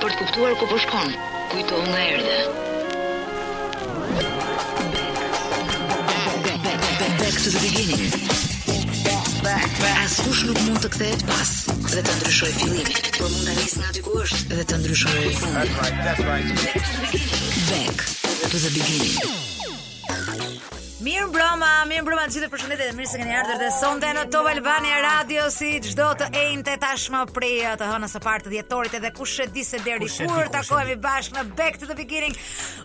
pas kuptuar ku po shkon. Kujto nga erdhe. Back, back, back, back to the beginning. Askush nuk mund të kthehet pas dhe të ndryshoj fillimin, por mund ta nis nga aty ku është dhe të ndryshoj fundin. Back to the beginning. Mirë mbrëma, mirë mbrëma të gjithë dhe përshëndetje dhe mirë se keni ardhur dhe sonte në Top Albania Radio si çdo të enjte tashmë prej uh, të hënës së parë të dhjetorit edhe kush e di se deri Kush e di, kur kush e takohemi bashkë në Back to the Beginning.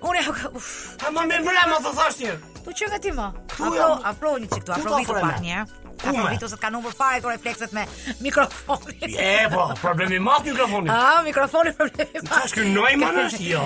Unë uf, A më më mbrëm të thash një. tu çka ti më? Ku Afro, jam? afro një çik tu, Ku afro ta vitu afrojmë? pak një herë. Ku me? Afro vitu se të kanë humbur fare këto reflekset me mikrofonin. E po, problemi i madh mikrofonit. Ah, mikrofoni problemi. Çfarë është ky Neumann është? Jo.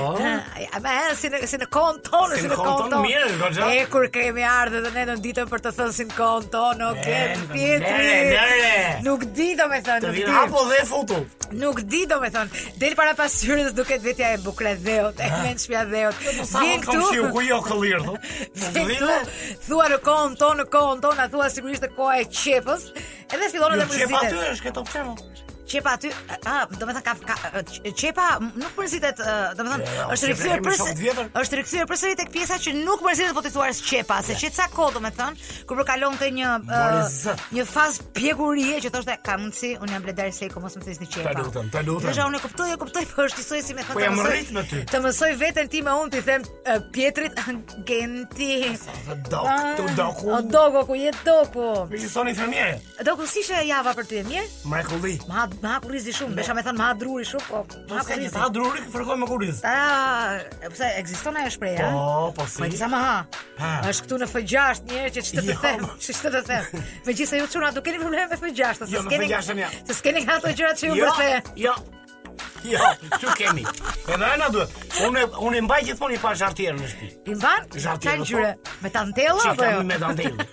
A më si në si në kohën tonë, Si si në në kohën kohën tonë, tonë. mirë, goxha. E kur kemi ardhur dhe ne në ditën për të thënë si në kohën tonë, o ke Lere, Pietri. lere, lere. Nuk di domethënë, Të nuk vinë di. apo dhe futu. Nuk di domethënë. Del para pasyrës duket vetja e bukre dheut, e mend shtëpia dheut. Po, Sa më Vjen kam shiu këtu. ku jo këllir thu. Të Vjen këtu, vinë. thua në kohën tonë, në kohën tonë, a thua sigurisht e koha e qepës, edhe fillon edhe Ju çep Jo, aty mërzitet. është këto pse mo? Qepa aty, ah, do të thënë ka, ka q- qepa m- nuk mërzitet, ë, do të thënë Jo, është qepa rikthyer jemi përsëri. shumë vjetër. Është rikthyer përsëri tek pjesa që nuk mërzitet po ti thua as qepa, se qet sa kohë do të thënë, kur përkalon këtë një More ë, zot. një fazë pjegurie që thoshte ka mundsi, unë jam bledar seko, mos më thësni qepa. Ta lutem, ta lutem. Desha unë e kuptoj, e kuptoj, po është njësoj si me thënë. Po të jam mësoj- rrit me ty. Të mësoj veten time unë ti them ë, Pietrit Genti. Dhe dok, tu doku. O doku ku je doku. Me soni fermiere. Doku si ishte java për ty, e mirë? Mrekulli. Ma ha, ma ha kurizi shumë, desha me thënë ma ha druri shumë, po Po ma ha s'ka kurizi. gjithë ha druri kë fërkoj me kuriz. Ta, e, pse ekziston ajo shprehje? Po, a? po si. Po e di sa ma ha. Ha. Është këtu në F6 një herë që ç'të të Jo. them, ç'të të them. Megjithëse ju çuna do keni probleme me F6, se Jo, me s'keni. F6 -ën ja. Se s'keni nga ato gjërat që ju Jo, bërthe. jo. Jo, çu kemi. Edhe ana duhet. Unë unë e mbaj gjithmonë i pa zhartierën në shtëpi. I mban? Zhartje, Çfarë po. gjyre? Me tantella apo Çikam jo? me dandellin.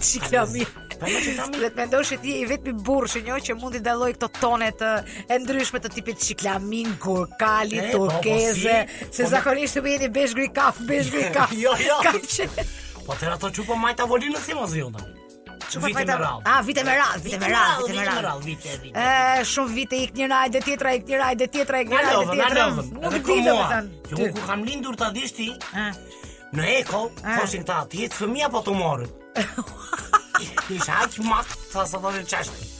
Çiklami. Po më çikam. Dhe të mendosh se ti je i vetmi burrë që njoh që mund i dalloj këto tone të e ndryshme të tipit shiklamin, kurkali, E, po, po, turkeze, si. se Po, zakonisht ju jeni besh gri kaf, besh gri kaf. Jo, jo. Ka që Po tëra ato çu po majta volinë si mos ju tani. Çu po majta- Ah, vite me radhë, vite me radhë, vite me radhë. Vite vite. E, shumë vite ik njëra ajde tjetra, ik njëra ajde tjetra, ik Na njëra ajde lovën, na tjetra. lovën. Nuk Edhe di kur mua, që domethënë. unë ku kam lindur ta dish ti Ah. në Eko, thoshin ta, ti je fëmia po të morën. Isha aq mat, sa sa do të çashti.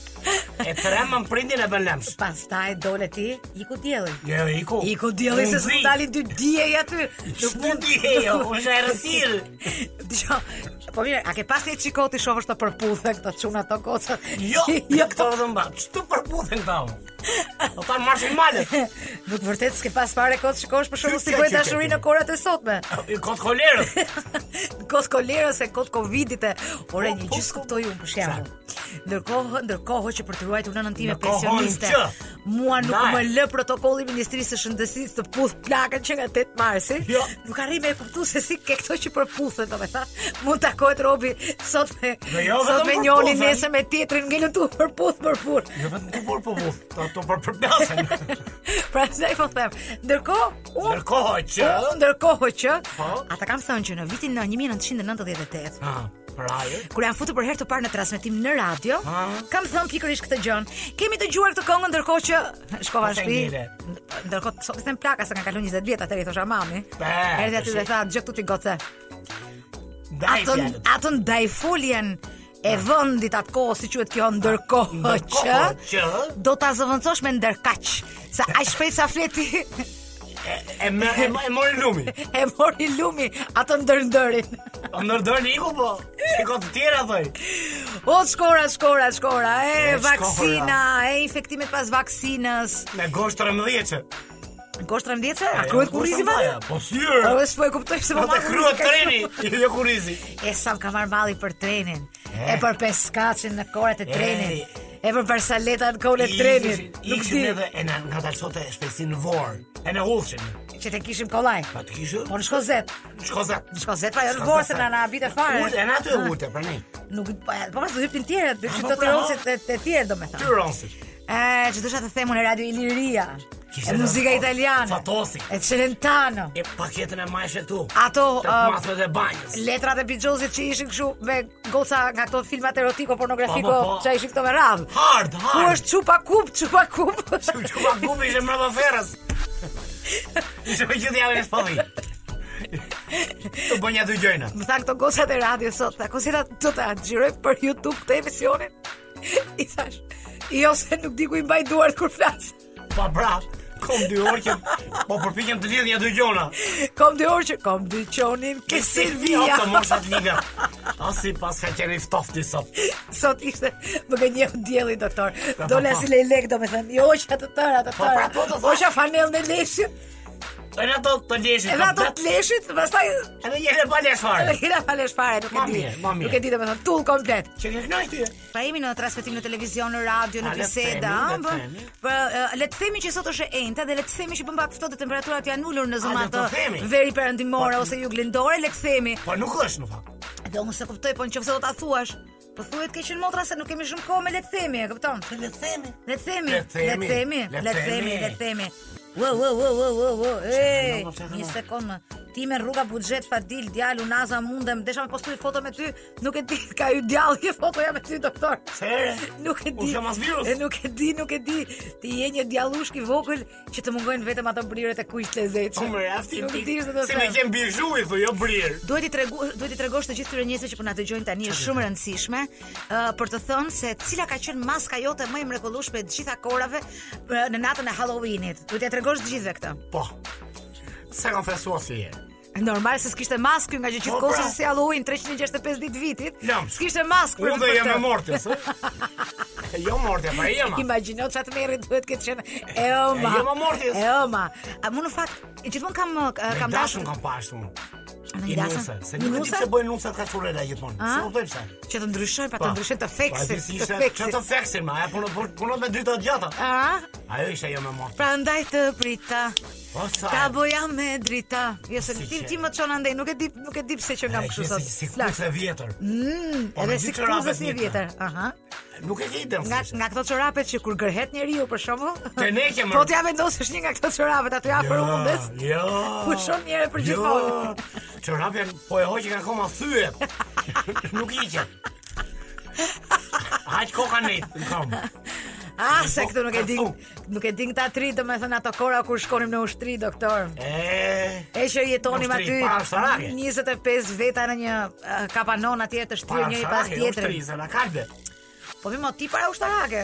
E tremën prindin e bën lemsh. Pastaj dole ti, iku dielli. Jo, Eko. Iku dielli se Unë zi. s'u dalin dy diej aty. Nuk Nuk di jo, është e rësir. Dgjoj. Po mirë, a ke pasur një çikot i shohësh të përputhe këto çuna ato goca? Jo, jo këto vetëm mba. Ç'tu përputhen këta? unë? Po Ata marshin malet. Nuk vërtet s'ke pas fare kot shikosh për shkakun Ky si kjo bëhet që ke dashuri ti. në korat e sotme. Kot kolerës. Kot kolerës e kot covidit e ore Po, një po, gjë po. kuptoj unë për shembull. Ndërkohë, ndërkohë që për të ruajtur nënën time Në kohën pensioniste, që. mua nuk Ndaj. më lë protokolli i Ministrisë së Shëndetësisë të puth plakën që nga 8 marsi. Jo. Nuk arri me e kuptu se si ke këto që përputhen, domethënë, mund takohet robi sot me Dhe jo sot vetëm me njërin, përputhen. nesër me tjetrin, ngelën tu përputh përputh. Jo vetëm të burë po burë, të ato për përplasën. pra ndaj po them. Ndërkohë, unë Ndërkohë që... unë ndërkohë që Po? ata kam thënë që në vitin në 1998 Ha, pra ajo. Kur jam futur për herë të parë në transmetim në radio, Ha? kam thënë pikërisht këtë gjën. Kemi dëgjuar këtë këngë ndërkohë që shkova në Ose shtëpi. ngele. Nd- Ndërkohë sot them plaka se kanë kaluar 20 vjet atëherë i thosha mami. Be, Erdhi aty tashi. dhe tha, "Gjë këtu ti gocë." Ndaj Atë fjallet. atë ndaj foljen e vendit atë kohë si quhet kjo ndërkohë që Ndërkohë që... do ta zëvendësosh me ndërkaq. Sa aq shpejt sa fleti E, me, e, e mori lumi. e mori lumi atë ndërndërin. O ndërdojnë iku po. Shiko të tjera dhej. O shkora, shkora, shkora, e, E, vaksina, e infektimet pas vaksinës. Me gosht të rëmdhjeqe. Gosht 13, a jo, kruhet kurrizi vallë? Po syrë. Po s'po e kuptoj pse po Po të marr kryet kurrizi ka treni, qenë. jo kurizi. E sa më ka marr malli për trenin, E. e për peskacin në korat e E. trenit, e për barsaleta në kohën e trenit. Nuk Ishim di edhe, e na nga dalë sot e shpesin në vorë. E në ullëshin. që te kishim kollaj. Pa të kishë... Po në shkozet. Shkozat. Në shkozet pra jo në vorë se na na habite Ullë, fare. e na të e ullë, pra ne. Nuk po po mos do hypin tjerë, do A, që po, do të pra. rroset të të tjerë domethënë. Ty ronsit. Ë, që dosha të them unë Radio Iliria. Kishte E muzika dhe- italiane. Fatosi. E Celentano. E paketën e majshë këtu. Ato, uh, Të ë, mathët e banjës. Letrat e Bigjosit që ishin kështu me goca nga këto filmat erotiko pornografiko Po, po, po. që ishin këto me radhë. Hard, Ku hard. është çupa kup, çupa kup. Që që pa gubi ishe mrapa ferës. Ishe me gjithë javën e spalli. Të bënja dy gjojna. Më thanë këto gocat e radio sot, tha, "Kosita do ta xhiroj për YouTube këtë emisionin." I thash, "Jo se nuk di ku i mbaj duart kur flas." Pa bra, kom dy orë që po përpiqem të lidh një dy gjona. Kom dy orë që kom dy qonin ke Jo, të Silvia. moshat liga. Asi pas ka qenë i ftoftë sot. Sot ishte më gënjeu dielli doktor. Po, Dola po, po. si lelek domethënë, jo që të tëra, të Po, tëra. pra, po, të thash. Osha fanell në leshin, Edhe ato të lëshit. edhe ato të leshit, pastaj Edhe një herë pa lesh Edhe fare. hera falesh fare, nuk e Ma di. mirë, ma mirë. Nuk e di domethënë tull komplet. Që ke kënaqur ti? Pra jemi në transmetim në televizion, në radio, në A, le të themi, biseda, le ëh, të po. themi. Po e, le të themi që sot është e enjta dhe le të themi që bën pak ftohtë dhe temperaturat janë ulur në le zonat të themi. të veri perëndimore Po. ose juglindore, le të themi. Po nuk është në fakt. Dhe unë se kuptoj, po nëse do ta thuash, po thuhet keq në motra se nuk kemi shumë kohë me le të themi, e kupton? Le të themi. Le të themi, Le le të të themi, themi, le të le të themi, themi. le të themi. Wo wo wo wo wo wo. Ej, Çfarë do, çfarë një do? sekond më. Ti me rruga buxhet Fadil, djalu Naza mundem, desha me postoj foto me ty, nuk e di ka hyrë djalli ke foto ja me ty doktor. Çere. Nuk e di. Unë jam as virus. E nuk e di, nuk e di. Ti je një djallushk i vogël që të mungojnë vetëm ato briret e kuq të lezetshme. Po më rafti. Nuk di se do të Si me them. kem birxhu i thu, jo brir. Duhet i tregu, duhet i tregosh të gjithë këtyre njerëzve që po na dëgjojnë tani është shumë e rëndësishme uh, për të thënë se cila ka qenë maska jote më e mrekullueshme të gjitha korave ë, në natën e Halloweenit. Duhet ja tregosh të gjithëve këtë. Po. Sa konfesuar si je. Normal se s'kishte maskë ky nga që Po, gjithkohë pra. se si Halloween 365 ditë vitit. Lam. S'kishte maskë për Unë dhe për jam këtë. e mortës, ë? Jo mortja, pa e jema. Imagjino çat merri duhet këtë qenë e oma. E jema mortis. E oma. A mu në fakt gjithmonë kam ë, Kam kam dashur dashur kam pashtë unë. Me I dasën? nuse, se Me nuk e di nuse? pse bëjnë nusat kafshurela gjithmonë. A? Se u bëjmë sa. që të ndryshoj pa të ndryshoj të Pa, feksit. Po, si ishte, të që feksit. të feksin, ma, e punon punon- punon me dy të gjata. Ah, Ajo ishte jo me mortë. prandaj të prita. Po sa. Ta boja me drita. Jo se Si ti që- ti më çon andej, nuk e di, nuk e di pse që nga E, më kështu ke sot. Si si Flak. kurse vjetër. Mm, Po, me edhe dy si çorape kruzës një t'njëjta. vjetër. Aha. Nuk e ke ide Nga nga këto çorapet që kur gërhet njeriu për shembull, Te ne ke, mërë. Po t'ja vendosësh një nga këto çorapet aty afër hundës. Jo. Pushon njëre për gjithmonë. Çorapja Jo, po e hoqi ka koma thyet. Nuk i qe. Haq koka ne, kom. Ah, se këtu nuk e ka di. thu. Nuk e di këta tri, domethënë ato kora kur shkonim në ushtri, doktor. E, E që jetonim Në ushtri, aty para sarage. 25 veta në një eh, kapanon atje të shtrirë para njëri pas sarake, tjetrit. ushtrisë, na kalbe. Po mi mo, ti para ushtarake.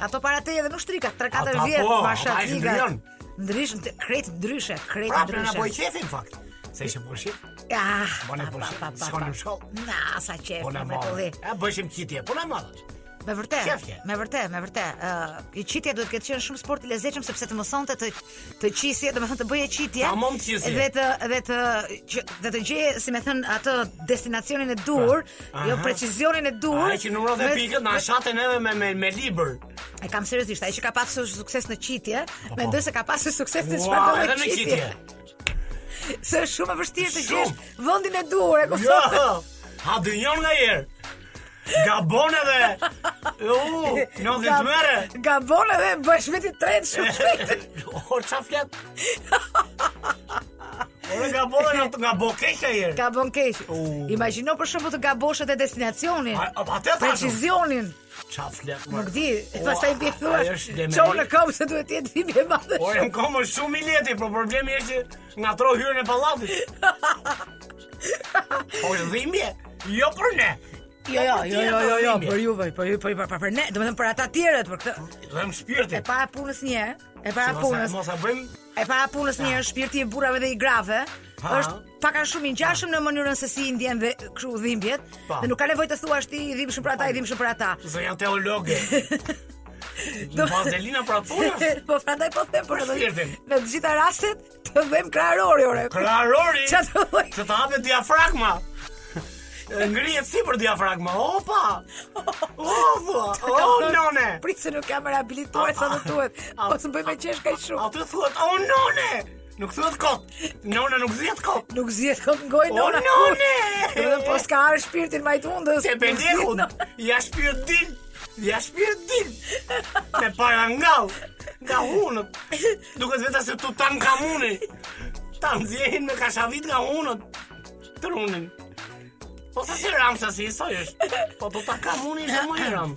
Ato para te edhe në shtrika, 3-4 Ata vjet, po, masha ata ishin tiga. ndryon. Ndryshën, të- krejt ndryshe, krejt Prapë na po i ndryshe. qefin fakt. Se ishim pushim, Ah, Po ne pa, pa, përshim, pa, pa, s'konim pa. shkollë. Na, sa qef, po na me marrë. mrekulli. E bëshim qitje, po na marrë. Me vërtet, Qef je. me vërtet, me vërtet. Ë, i qitja duhet këtë qenë shumë sport i lezetshëm sepse të mësonte të të qisje, domethënë të bëje qitje. Tamam qisje. Dhe të dhe të që- dhe të gjej, si më thën, atë destinacionin e dur, Pra, jo aha. precizionin e dur. Ai që numëron dhe me- pikët, na shaten edhe me me me libër. E kam seriozisht, ai që ka pasur sukses në qitje, po. mendoj se ka pasur sukses në Ua, çfarë edhe do në të qitje. qitje. Se është shumë e vështirë të Shumë. gjesh vendin e duhur, e Jo. kupton? Ha dynjon nga herë. Gabon edhe. U, në dhe të mere. Gabon edhe bësh veti tret shumë shpejt. O, qa flet? Ore, gabon edhe në- nga bokesha herë. Gabon keq. U. Imagjino për shembull të gabosh atë destinacionin. A- a- Atë të ashtu. Precizionin, Qa flet? nuk di, Ua, pastaj bie thua. ajo është demeni. Çon në kom se duhet të jetë vimi e madhe. Ore, më komë shumë i leti, po problemi është që nga tro hyrën e palatit. Po është dhimje, jo për ne. Jo, jo, jo, jo, jo, jo, Dhimje. për juve, për ju, për për, për ne, domethënë për ata tjerët, për këtë. Dhe më shpirti. E para punës një herë, e para Mos a- punës. Mos a bëjmë E para punës një herë shpirti i burrave dhe i grave Ha. është pak a shumë i ngjashëm në mënyrën se si i ndjen dhe kështu dhimbjet, Pa. dhe nuk ka nevojë të thuash ti i dhimbshëm për ata, i dhimbshëm për ata. Se janë teologe. Në vazelina pra punës. po prandaj po them për Për këtë. shpirtin. Në të gjitha rastet të vëmë krarori ore. Krarori. Ç'a të thuaj? Se të hapet diafragma. E Ngrihet si për diafragma. Opa! O, thua! O, none! Prit se nuk jam rehabilituar sa do duhet. a- Po s'm bëj me qesh kaq shumë. Aty thuhet, o, none! Nuk thuhet kot. Nona nuk zihet kot. Nuk zihet kom gojë O, nona. kur. none! Domethënë po s'ka ar shpirtin majtundës. Se pendekun. Ja shpirt din. Ja shpirt din. Me para ngall. nga hunët. Duket vetë se tutan kamuni. Ta nxjehin me kashavit nga hunët. Trunin. Po sa si Ramses i soi është. Po tutan kamuni është më i ram.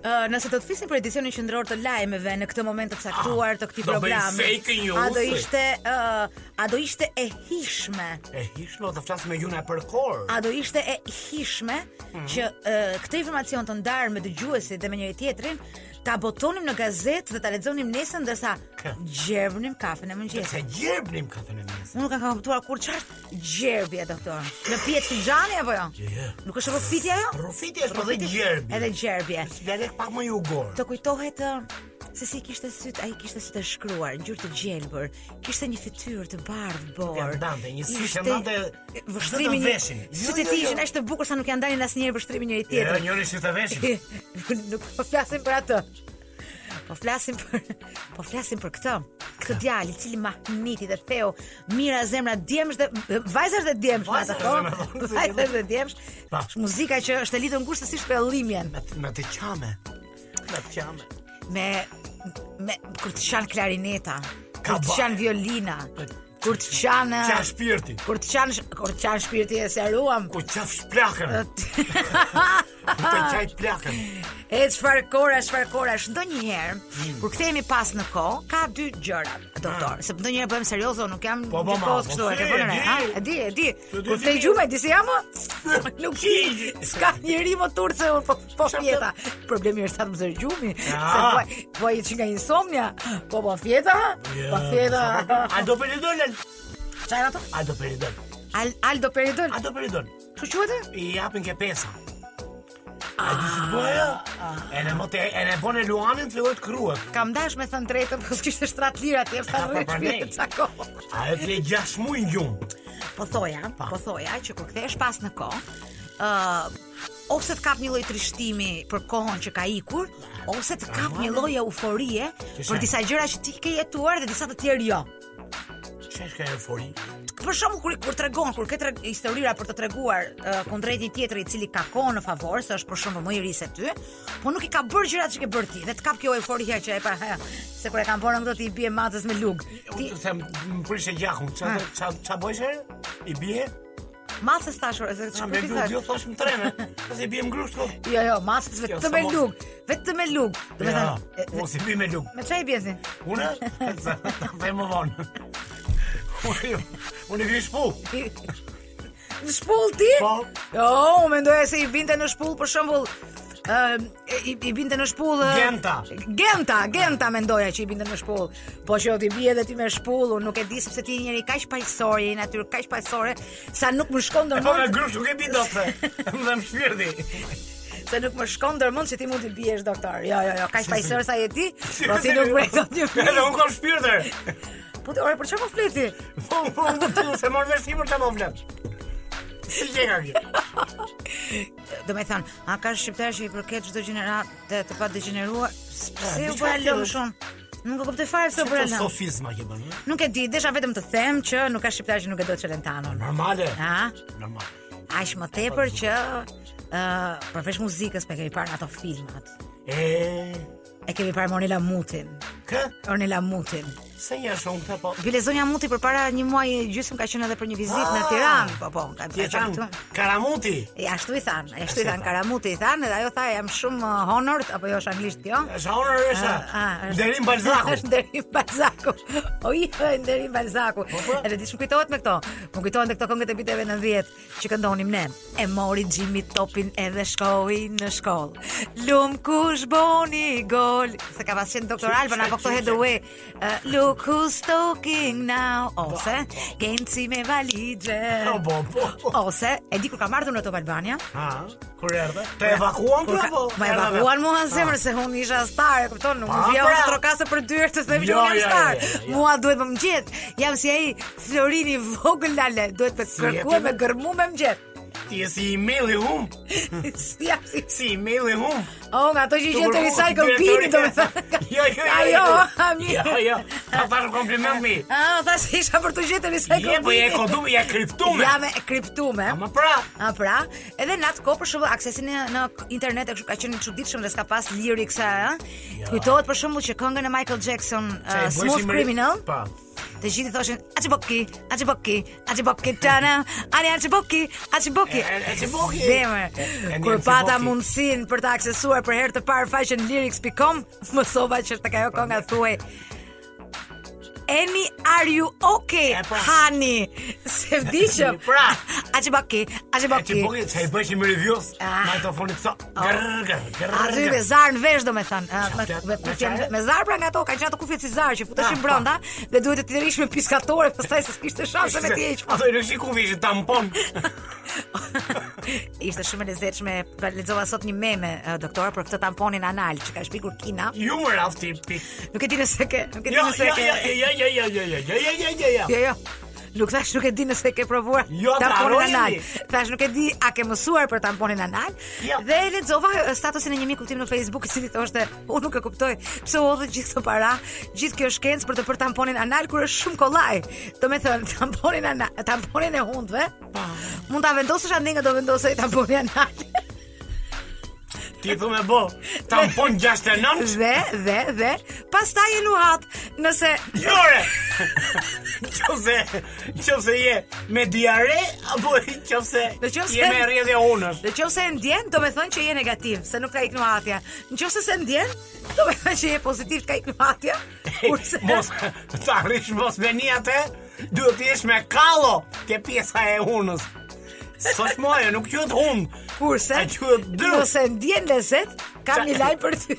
Ë, nëse do të flisnim për edicionin qendror të lajmeve në këtë moment të caktuar të këtij Ah, do bëj programi, fake news, a do e. ishte ë, a do ishte e hishme? E hishme të flas me gjuna për kor. A do ishte e hishme Hmm. që uh, këtë informacion të ndarë me dëgjuesit dhe me njëri tjetrin ta botonim në gazetë dhe ta lexonim nesër ndërsa Kë. gjerbnim kafen e Se mëngjesit. gjerbnim kafen e mes. Unë nuk e kam kuptuar kur çfarë gjerbje doktor. Në pijet fixhani apo jo? Jo, jo. Nuk është rufitja jo? Rufiti është po dhe gjerbi. Edhe gjerbje. Lele pak më jugor. të kujtohet ë, se si kishte syt, ai kishte syt e shkruar, ngjyrë të gjelbër, kishte një fytyrë të bardhë bor. Ja, ndante, një sy që Ishte- ndante vështrimi vetëm një- veshin. Jo, Sytë e jo, tij jo. ishin aq të bukur sa nuk janë dalin asnjëherë vështrimi njëri Jo, tjetrit. njëri si të veshin. nuk po flasim për atë. Po flasim për po flasim për këtë. Këtë djalë i cili mahniti dhe theu, mira zemra djemsh dhe vajzash dhe djemsh në atë Vajzash kohë. dhe Po. zemra, thonë, Vajzash dhe djemsh. Pa. Është muzika që është e lidhur ngushtë si shpellimjen Me me të qame. Me të qame. me me kur të qan klarineta, Ka kur të ba- qan violina, Po, kur të qan Qa shpirti. kur të qan kur të qan shpirti e seruam. Ku qaf shplakën. Ku të qaj plakën. E çfarë kora, çfarë kora, ndonjëherë Hmm. kur kthehemi pas në kohë, ka dy gjëra, doktor, se po ndonjëherë bëhem serioze, unë nuk jam Ah. Po, po, ma, gjithkohë po, kështu, e si, ke vënë e re, di. ha? E di, e di. Po, di, Kur di, kthej di. gjumë, e di se jam. ë? Nuk di. Ki. S'ka njeri më turse unë po po Qa fjeta. Problemi është sa të më zër gjumi, se Ah. po po i çka insomnia, po po fjeta, po fjeta. A do peridol? Lel? Çfarë ato? A do peridol? Al Aldo Peridol. A do peridol? Çu quhet? e? I japin ke pesa. A di si bëja? E në mote, e në bone luanin të filloj të kruhet. Kam dash me thënë drejtën, po s'kishte shtrat lira ti, Ka sa për rreth përnej. çka kohë. A e të gjash mu i gjumë. Po thoja, po thoja që kur kthehesh pas në kohë, ë ose të kap një lloj trishtimi për kohën që ka ikur, ose të kap një lloj euforie për disa gjëra që ti ke jetuar dhe disa të tjerë jo. Qesh ka eufori? Për shembull kur kur tregon, kur ke tre, historira për të treguar uh, kundrejt një tjetri i cili ka kohën në favor, se është për shembull më i ri se ty, po nuk i ka bërë gjërat që ke bërë ti, dhe të kap kjo euforia që e pa, ha, se kur e kanë bërë këto ti i bie matës me lug. Ti... Ti Se më prishe gjakun. Qa, Ah. qa, qa bojshe? I bje? matës tashur, se Qa çfarë me ti lukë, thash? jo thosh më trene. Nëse i bje më grusht kot. Jo, jo, masës Jo, vetëm sa me mos- lug, vetëm me lug. Do të Ja, thënë, e- o si bje me lukë. me çfarë i bjesin? Unë? Se të më vonë. Unë jo- Unë i vi shpu. Në shpull ti? Po. Jo, unë mendoja se i binte në shpull për shembull ë i, i binte në shpull ë, Genta. Genta, genta mendoja që i binte në shpull. Po që ti bie edhe ti me shpull, unë nuk e di sepse ti je njëri kaq paqësor, je natyrë kaq paqësore sa nuk më shkon Po me ndërmend, grusht nuk e bi dot se. Më dhe më shpirti. se nuk më shkon ndërmend se ti mund të biesh doktor. Jo, jo, jo, kaq paqësor sa je ti, po ti Se- nuk vret dot një Edhe fis. unë kam shpirtër. Po ti, ore, për çfarë po fleti? Po po unë të se mor vesh ti për çfarë po flet. Si që ka kjo? Do me thënë, a ka shqiptar që i përket çdo gjenera të, të pa degeneruar? Pse diçka u bëra tjetër. lëm shumë? Nuk e kuptoj fare pse u bëra Çfarë lëm. sofizma që bën? eh? Nuk e di, desha vetëm të them që nuk ka shqiptar që nuk e do Çelentanon. Normale. Ha? Normal. Aq më tepër që ë përveç muzikës pe kemi parë në ato filmat. E E kemi parë Monela Mutin. kë? Ornela Mutin. Se një është unë të po. Bilezonja Muti përpara një muaji gjysmë ka qenë edhe për një vizitë në Ah! Tiranë, po po, ka Ti ka e qenë thanë këtu. Karamuti. Ja, ashtu i than, ja, ashtu i Ashtu i than than. Karamuti i than, edhe ajo tha jam shumë uh, honored apo jo është anglisht kjo? Është honor është. Ah, ah, është- Derim Balzaku. Është Derim Balzaku. O i hënë Derim Balzaku. po. Edhe di shumë kujtohet me këto. Më kujtohen dhe këto këngët e viteve 90 që këndonim ne. E mori Jimmy topin edhe shkoi në shkollë. Lum kush boni gol. Se ka pasur doktor Alban apo këto Hathaway. Uh, Look who's talking now. Ose Genci me valigje. Po po po. Ose e di kur kam ardhur në Top Albania. Ha, kur erdhe? Të evakuan Kur pra ka- po? Ma Erdhe evakuan vetë. mua zemër se unë isha star, e kupton, nuk Pa, vjen pra. pra. trokase për dyrë të themi që Jo, unë jam jo, star. jo, jo, jo. Mua duhet më mëngjet. Jam si ai Florini i vogël lale, duhet të Si kërkuaj jeti me me- gërmu me mëngjet. Ti je si email i hum. si jam si Si email i hum. O, nga ato që i Të gjen te kërkuar recycle direktori- bini, domethënë. Jo, jo, jo, ajo, ami. Jo, jo. Ta bash kompliment mi. Ah, thash isha për të gjetur disa Je po je kodume, je kriptume. Jam e kriptume. Ma pra. A pra, edhe në atë kohë për shembull aksesi në, në internet e kështu ka qenë i çuditshëm dhe s'ka pas lyrics a, ë. Kujtohet për shembull që këngën e Michael Jackson, Qa uh, i bëj si Smooth mri- Criminal, Pa. të gjithë i thoshin Achiboki, Achiboki, Achiboki tana, ani Achiboki, Achiboki. E- e- Achiboki. Zemër. E- e- e- Kur pata Achiboki. mundësinë për të aksesuar për herë të parë faqen lyrics.com, mësova që tek ajo kënga thuaj Eni, are you okay, E, pra. honey? Se vdiqëm. Pra. Achiboki, E ti Achiboki. buki, që i bëshim reviews, Po, Ah. majtofonit sa, gërë, gërë, Aty me gërë, zar në vesh domethën, ë, me Qaftet, me me kufje çare? me zar pra nga ato, ka qenë ato kufje si zar që futeshin Ah, brenda dhe duhet të rish me piskatore, pastaj se s'kishte shanse me ti po. hiç. Ato i rëshi ku vishë tampon. Ishte shumë e lezetshme. pra, Lexova sot një meme ë, doktor për këtë tamponin anal që ka shpikur Kina. Ju më rafti, pik. Nuk e di nëse ke, nuk e di Jo, nëse jo, ke. jo, jo, jo, jo, jo, jo, jo, jo, jo, jo, jo. Jo, jo. Nuk thash nuk e di nëse e ke provuar Jo, ta tamponin harrojeni. anal. Thash nuk e di a ke mësuar për tamponin anal. Jo. Dhe lexova eh, statusin e një miku tim në Facebook i cili thoshte, "Unë nuk e kuptoj pse u hodhët gjithë këto para, gjithë kjo shkencë për të për tamponin anal kur është shumë kollaj." Do me thënë, tamponin anal, tamponin e hundve. Mund ta vendosësh atë nga do vendosej tamponin anal. Ti thu me bo, tampon 69, dhe dhe dhe pastaj e luhat nëse jore! Qose, qose je me diare, apo qose Në qoftë je se- me rrjedhje unësh. Në qoftë se e ndjen, do me thënë që je negativ, se nuk ka ikë hatja. Në qoftë se se ndjen, do me thënë që je pozitiv, ka ikë hatja. Kurse Mos, të arrish mos me një atë, duhet të jesh me kallo, ke pjesa e unës. Së shmoje, nuk qëtë unë. kurse e quhet dru. nëse ndjen lezet, kam Qa- një lajm për ty.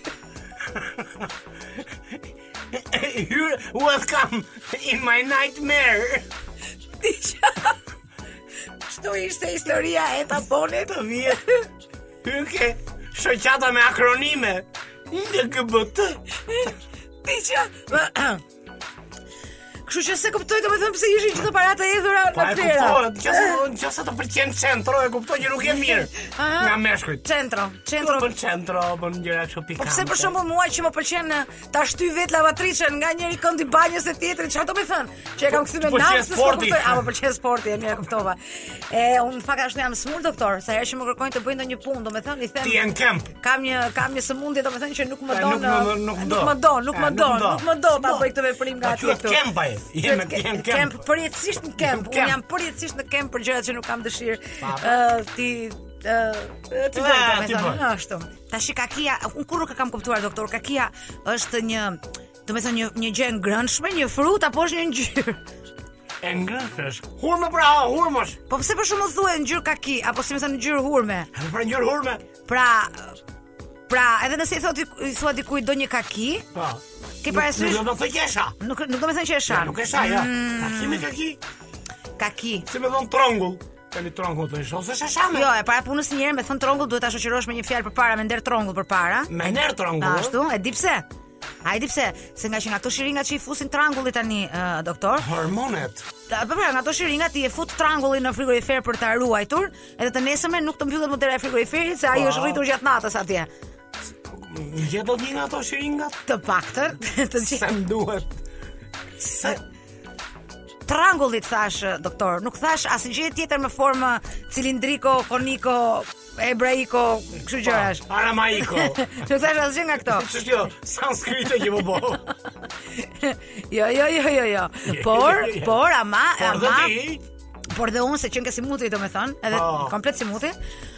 You're welcome in my nightmare. Kështu ishte historia e tamponit. Të vjet. Hynke, shoqata me akronime. LGBT. Piqa. Kështu që se kuptoj domethënë pse ishin gjithë paratë e hedhura Po në e plera. kuptohet, nëse nëse të pëlqen centro, e kuptoj që nuk je mirë. Aha. Nga meshkujt. Centro, Centro centro. bën centro, bën gjëra kështu pikante. Po pse për shembull mua që më pëlqen eh, ta shty vet lavatrishën nga njëri kënd i banjës e tjetrit, çfarë do të thënë? Që e kam Po, kthyme t'pëlqen naps, s'po sporti. kuptoj, a më pëlqen sporti, e mirë e kuptova. E unë në fakt ashtu jam smur doktor, sa herë që më kërkojnë të bëj ndonjë punë, domethënë i ti je them në kemp. Kam një kam një sëmundje domethënë që nuk më E, don. nuk më- nuk eh, do. Nuk më don, nuk E, më nuk don, do. nuk më do ta S'do. bëj këtë veprim nga Pa, atje quhet kemp aje. Je në- je në kemp. Kemp përjetësisht në kemp. Në Unë kemp. jam përjetësisht në kemp për gjërat që nuk kam dëshirë. Pa. Ë ti ë ti Ah, bëj ti domethënë, bëj. ë, ashtu. Tash kakia, unë kur nuk e kam kuptuar doktor, kakia është një Do me thënë një, një gjë e ngrënshme, një frut, apo është një ngjyrë. E ngrëfesh. Hurme pra, hurmosh. Po pse për shembull thuhet ngjyrë kaki, apo si më thënë ngjyrë hurme? E Pra ngjyrë hurme. Pra, pra, edhe nëse i thotë i thua dikujt do një kaki, Po. Ke parasysh- Nuk do të qesha. nuk nuk do me thënë që e Ja, shan. nuk e sha, ja. Mm. Kaki me kaki. Kaki. Si me thonë trongull Kemi trongull të isho Se shashame Jo, e para punës një herë me thënë trongull duhet ta shoqërosh me një fjalë përpara, me nder trongull përpara. Me nërë trongull A, ë? Ashtu, e di pse. A e di pse, se nga që nga ato shiringa që i fusin trangullit tani, uh, doktor, Hormonet ta- po pra, nga ato shiringa ti e fut trangullin në frigorifer për ta ruajtur, edhe të nesërme nuk të mbyllet modera e frigoriferit se ai Po. është rritur gjatë natës atje. Gje do t'një nga ato shiringat Të paktën, të gjithë Se më duhet Se trangullit thash ë, doktor, nuk thash asgjë tjetër në formë cilindriko, koniko, hebraiko, kështu Po. gjërash. Aramaiko Nuk thash asgjë nga këto. Që shkjo Sanskrite që më bo Jo, jo, jo, jo, jo. Por, por ama, Por dhe ama ti Por dhe unë se qenë ke si muti, do me thënë, edhe Po. komplet si muti.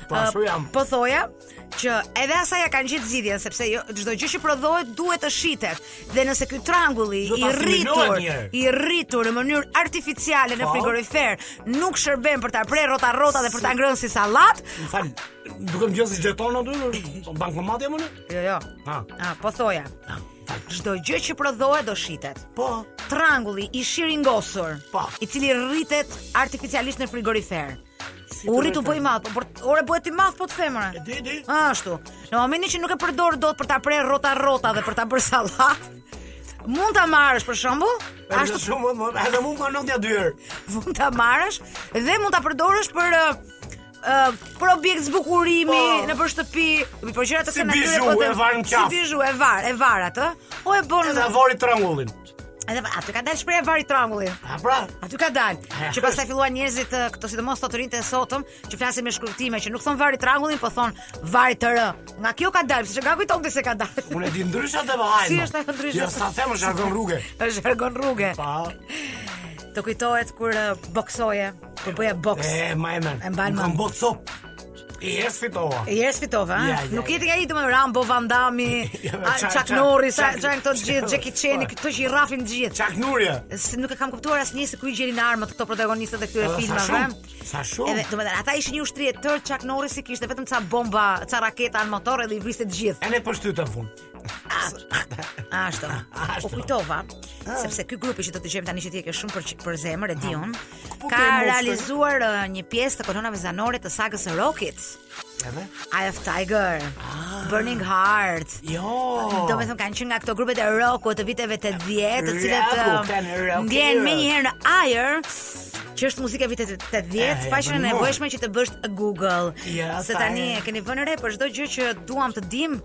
Po, ë, ashtu jam. Po thoja që edhe asaj ja kanë gjetë zgjidhjen sepse jo çdo gjë që prodhohet duhet të shitet. Dhe nëse ky trangulli Duhet i ta rritur, asimilohet njerë. i rritur në mënyrë artificiale në Po. frigorifer, nuk shërben për ta prerë rrota rrota dhe për ta ngrënë si sallat. Më falë Duke më gjënë si gjeton aty Po bankomat jam unë Jo, jo. Ha A, po thoja. Ah, Çdo gjë që prodhohet do shitet. Po Trangulli i shiringosur, Po. i cili rritet artificialisht në frigorifer. Urri tu bëj madh, po për- ore bëhet i madh po të femra. E di, di Ashtu. Në momentin që nuk e përdor dot për ta prerë rrota rrota dhe për ta bërë sallat, mund ta marrësh për shembull, Ashtu ashtu shumë më- Edhe mu më në tja dyrë mund ta marrësh dhe mund ta përdorësh për ë, uh, për objekt zbukurimi Po. në për shtëpi, për gjëra të Si kënaqëre, bizhu, po të- e varë në qafë. Si bizhu e var, e var atë. O e bën. Edhe avori trangullin. Edhe aty ka dalë shpreha e varit trangullit. A pra, Aty ka dalë, që pastaj filluan njerëzit ë, këto sidomos sot të rinjtë e sotëm, që flasin me shkruajtime që nuk thon vari trangullin, po thon vari të r. Nga kjo ka dalë, sepse nga kujton ti se ka dalë. unë e di ndryshat e vajma. Si është ajo ndryshe? Jo, sa them është argon rrugë. Është jargon rruge. Pa, Të kujtohet kur ë, boksoje, kur bëja boks. e, ma e men. E mban mend. Më Kam botë sop. I es fitova. E Jeres fitova, Ja, ja, ja, nuk ja. jeti nga i të me Rambo, Van Damme, Ja, a, Chuck- Chuck Chuck- Norris, a- Chuck- Jack këto gjithë, Chuck- Jackie Chan, këto që i rrafin gjithë. Çak nurje. Se nuk e kam kuptuar asnjë se ku i gjerin armët këto protagonistët e këtyre Edhe sa filmave. shumë, sa shumë. Edhe domethënë ata ishin një ushtri e tër Chuck Norris i kishte vetëm ca bomba, ca raketa në motor edhe i vriste të gjithë. E ne për shtytën po fund. Ashtu. Ashtu. Ah. U kujtova, sepse ky grupi që do të dëgjojmë tani që ti e ke shumë për qi- për zemër e di un, Po, ka ke eh? mostë. realizuar ë, një pjesë të kolonave zanore të sagës së Rockit. Edhe? Eye of Tiger, Ah. Burning Heart. Jo. Do me thëmë kanë qenë nga këto grupet e rocku të viteve të 10, të cilët Rocku, ë, kanë rockirë. ndjenë me njëherë në ajër, që është muzikë e viteve të 10, E, pa qenë e po, nevojshme që të bësh Google. Ja, Se sa tani e. e keni vënë re për çdo gjë që duam të dim,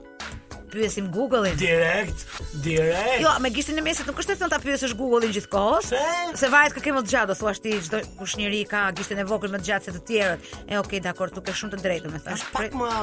pyesim Google-in. Direkt, direkt. Jo, me gishtin e mesit nuk është e thënë ta pyesësh Google-in gjithkohës. Se? Se varet kë ke më të gjatë, do thuash ti çdo kush njeri ka gishtin e vogël më të gjatë se të tjerët. E okay, dakor, tu ke shumë të drejtë, më thash. Është pak më...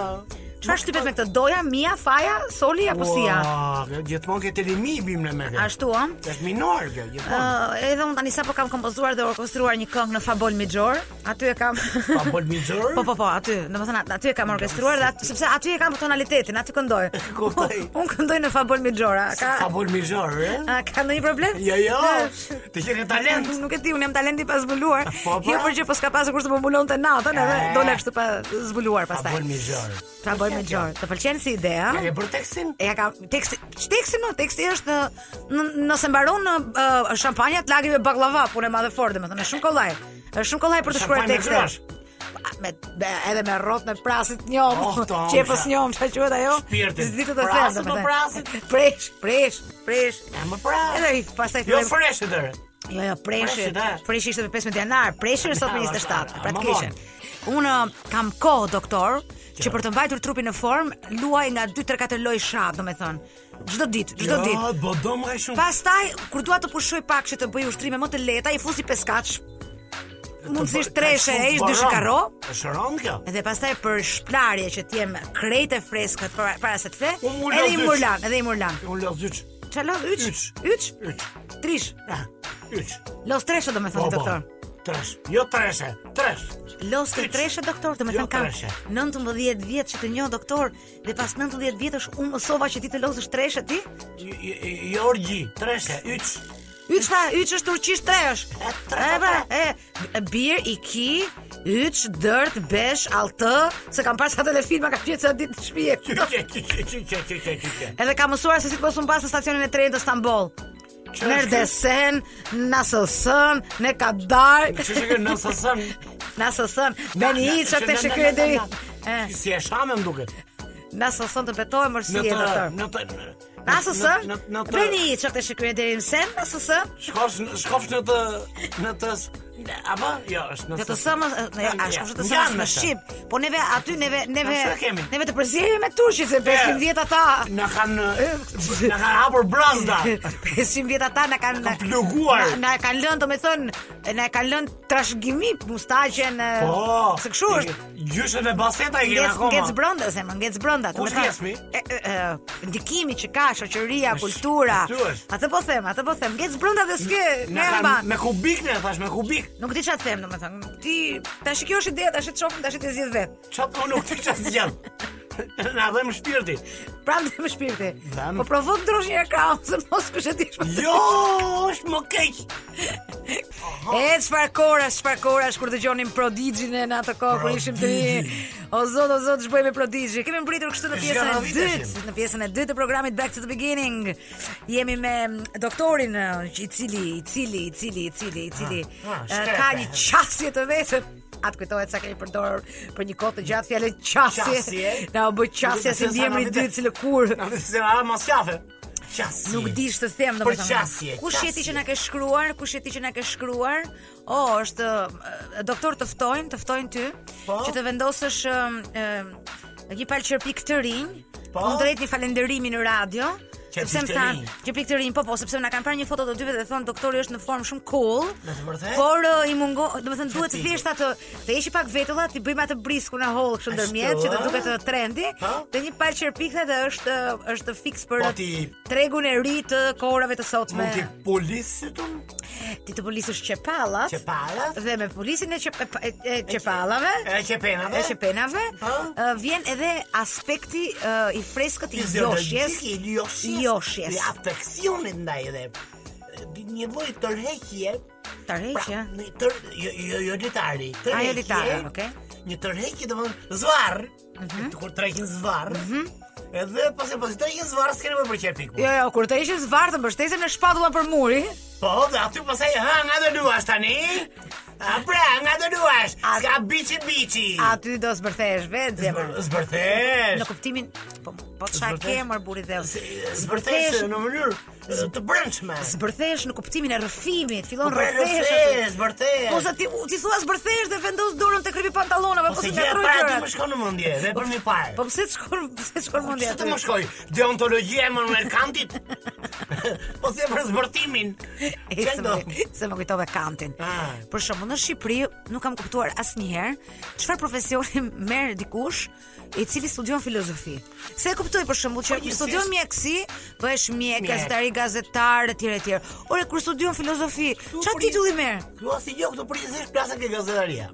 Çfarë shtypet me këtë? Doja, mia, faja, soli apo sia? Ua, Gjithmonë ke të limi i bim në me kjo. Ashtu ëh. Është minor kjo, gjithmonë. Uh, edhe unë tani sapo kam kompozuar dhe orkestruar një këngë në Fabol Migjor. Aty e kam Pa bol mizor. Po po po, aty, domethënë at- aty e kam orkestruar dhe aty, sepse aty e kam tonalitetin, aty këndoj. Kuptoj. unë këndoj në Fabol Migjor. a Ka Pa bol mizor, e? a, ka ndonjë problem? Jo, jo. Ah. Ti ke ke talent. Nuk e di, unë jam talenti pa zbuluar. Po, po. Jo për gjë, po s'ka pasur kur të më mbulonte natën edhe E. dola kështu pa zbuluar Pa bol pastaj. Ah. mizor. Fabol Migjor. Të pëlqen si ide, A a? ke bërë tekstin? E ja ka teksti, që teksti më, teksti është në- nëse mbaron në uh, shampanja të lagri me baklava, punë e madhe fort, domethënë, është shumë kollaj. Është shumë kollaj për të shkruar Shampanje me tekste. grash. Pa, Me, me edhe me rrot me prasit njom, Oh, oh, tomsha. qepës njom, çka quhet ajo? Shpirtin. Zdi të të them, Prasit, po domethënë. prasit. Presh, presh, presh. E më pra. Edhe i pastaj Jo fillojmë- fresh e dërë. Jo, jo, preshi. Preshi, da. Preshi ishte me 15 janar, preshi është sot me Ja, 27, vazhdo, pra të ama keqen. Unë um, kam kohë, doktor, po? që për të mbajtur trupin në formë, luaj nga 2-3-4 loj shab, domethënë. Çdo ditë, çdo ditë. Ja, Jo, bo do më e shumë. Pastaj, kur dua të pushoj pak që të bëj ushtrime më të lehta, i fusi peskaç. Mundësisht Ka treshe, shumë e ish baron. dy shikaro. Është rënd kjo. Dhe pastaj për shplarje që të jem krejt e freskët para, para se të fle, Unë mula edhe i zyç. murlan, edhe i murlan. Unë lë zyç. Çalo yç, Yç. yç, Yç. trish. Ja, yç. Los treshe Po, domethënë doktor. Tresh. Jo treshe, tresh. Los të Yç. treshe doktor, do me Jo thënë kam treshe. 19 vjetë që të njoh doktor Dhe pas 19 vjetësh unë mësova që ti të losësh treshe ti Jo- jo- Jo orgji, treshe, yç. Yç tha, yç është turqisht tresh E, tre, E pra, tre. e, bir, i ki, yç, dërt, besh, altë Se kam pas atë dhe filma ka qetë sa ditë të Qe, shpije qe, qe, qe, qe, qe, qe, qe, qe, qe. Edhe kam mësuar se si të posun pas në stacionin e trenit të Stambol Ç'është Në ky? Erdesen, në Sësën, në Kadar Që që ke nësë sën Në Sësën, me një i që të shikri deri Si e shame më duket Në Sësën të betohem Në mërsi e të doktor Në të Na së së? Në në të Bëni i që të shikuje deri në sen, na së së? Shkofsh shkofsh në të Në të s- në- Apo? Jo, është në Dhe të sëmës, e, a Ja, shkush të ngjan sëmës me në të. Shqip Po neve aty, neve, neve, Na, çfarë kemi? neve të përziremi me Turqit Se 500 vjet ata Në kanë Në kanë hapur brazda 500 vjet ata na kanë Kanë pluguar. na- Na kanë lënë, domethënë, na kanë lënë trashëgimi, mustaqen. e, Po Se kështu është. Gjyshën e baseta i kena Ngec akoma Po, ngec brenda se më ngec brenda. Kush domethënë, ngecmi? e, e, e, Ndikimi që ka shoqëria, Sh- kultura. aty është. Atë po them, atë po them, ngec brenda dhe s'ke Në ne kanë mban. me kubik në thash me kubik Nuk di çfarë të them domethënë. Ti tash kjo është ideja, tash e të shohim, tash e të zgjidh vet. Qatë unë nuk të qatë gjatë Në adhem shpirti Prandaj më shpirti. Dam. Po provo të ndrosh një ekran, se mos kush e di. çfarë- Jo, është më keq E çfarë korash, çfarë korash kur dëgjonim Prodigjin e në atë kohë kur ishim të rinj. O zot, o zot, ç'bëj me Prodigji. Kemi mbritur kështu në pjesën e Zgjaravit dytë, ishim. në pjesën e dytë të programit Back to the Beginning. Jemi me mm, doktorin ë, i cili, i cili, i cili, i cili, i cili Ah, ah, ë, shkrepe. ka një qasje të vetëm. Atë kujtohet sa kemi përdorur për një kohë të gjatë fjalën qasje. Qasje. Na u bë qasje Duket si se sa ndjemri i na vite- dytë cilë kur. Në të se a mas qafe Qasje. Nuk di ç'të them Për domethënë. qasje, Kush je ti qasje. që na ke shkruar? Kush je ti që na ke shkruar? O, është e, doktor të ftojnë, të ftojnë ty Po. që të vendosësh ëm, ëm, një palçërpi këtë rinj. Po. Kundrejt një falenderimi në radio. Qepik sepse më të than, rinj. që pikë të rinj, po po, sepse na kanë parë një foto të dyve dhe thonë doktori është në formë shumë cool. Në të vërtetë? Por ë, i mungo, domethënë duhet të Qepik. thjesht atë të heqi pak vetulla, ti bëjmë atë briskun në holl kështu Ashtu, ndërmjet që të a? duket ë, trendy, Po. dhe një palçërpik dhe është është fiks për Po ti- tregun e ri të kohërave të sotme. Mund t'i polisit unë? Ti të polisësh qepallat. Që palat? Dhe me polisin e, qep, e, e qepallave, E që penave? e qepenave, Po. ë, vjen edhe aspekti ë, i freskët i joshjes. Fiziologjik i joshjes. Joshjes. Dhe afeksionit ndaj edhe e, një lloj tërheqje. Tërheqje? Pra, një tër, jo, jo, jo litari. A, Tërheqje. jo litare, Mhm. okej. Një tërheqje do zvarr. Kur tërheqin zvarr. Edhe pas e pas tërheqin zvarr s'keni më për qepik. Mhm. Jo, jo, kur të ishin zvartë, mbështesin me shpatulla për muri. Po, dhe aty pasaj, ha, nga do duash tani? A pra, nga do duash? A- Ska biçi biçi. Aty do zbërthesh vetë zemër. Zbër- Zbërthesh. Në kuptimin, po, po çka Zbërthesh. ke mor burri dhe Zbërthesh në mënyrë e, të brendshme. Zbërthesh në kuptimin e rrëfimit, Po, fillon pra, rrëfesh. aty. rrëfesh, zbërthesh. Po se ti u- ti thua zbërthesh dhe vendos dorën te krypi pantallonave, po Ose se gjë ngatroj para pra, ti gjërat. më shkon në mendje, dhe për një parë. Po pse të shkon, pse të shkon mendja? Pse të aty? më shkoj? Deontologjia e Merkantit? po se për zbërtimin. E, Çfarë se do? më, se më kujtove kantin. Ah. Për shembull, në Shqipëri nuk kam kuptuar asnjëherë çfarë profesioni merr dikush i cili studion filozofi. Se e kuptoj për shembull që Po, gjithsesi- studion mjekësi, bëhesh mjek, Mjek. gazetari, gazetar etj etj. Ore kur studion filozofi, çfarë për- titulli merr? Ju as i jo këtu përgjithsisht plasën ke gazetaria.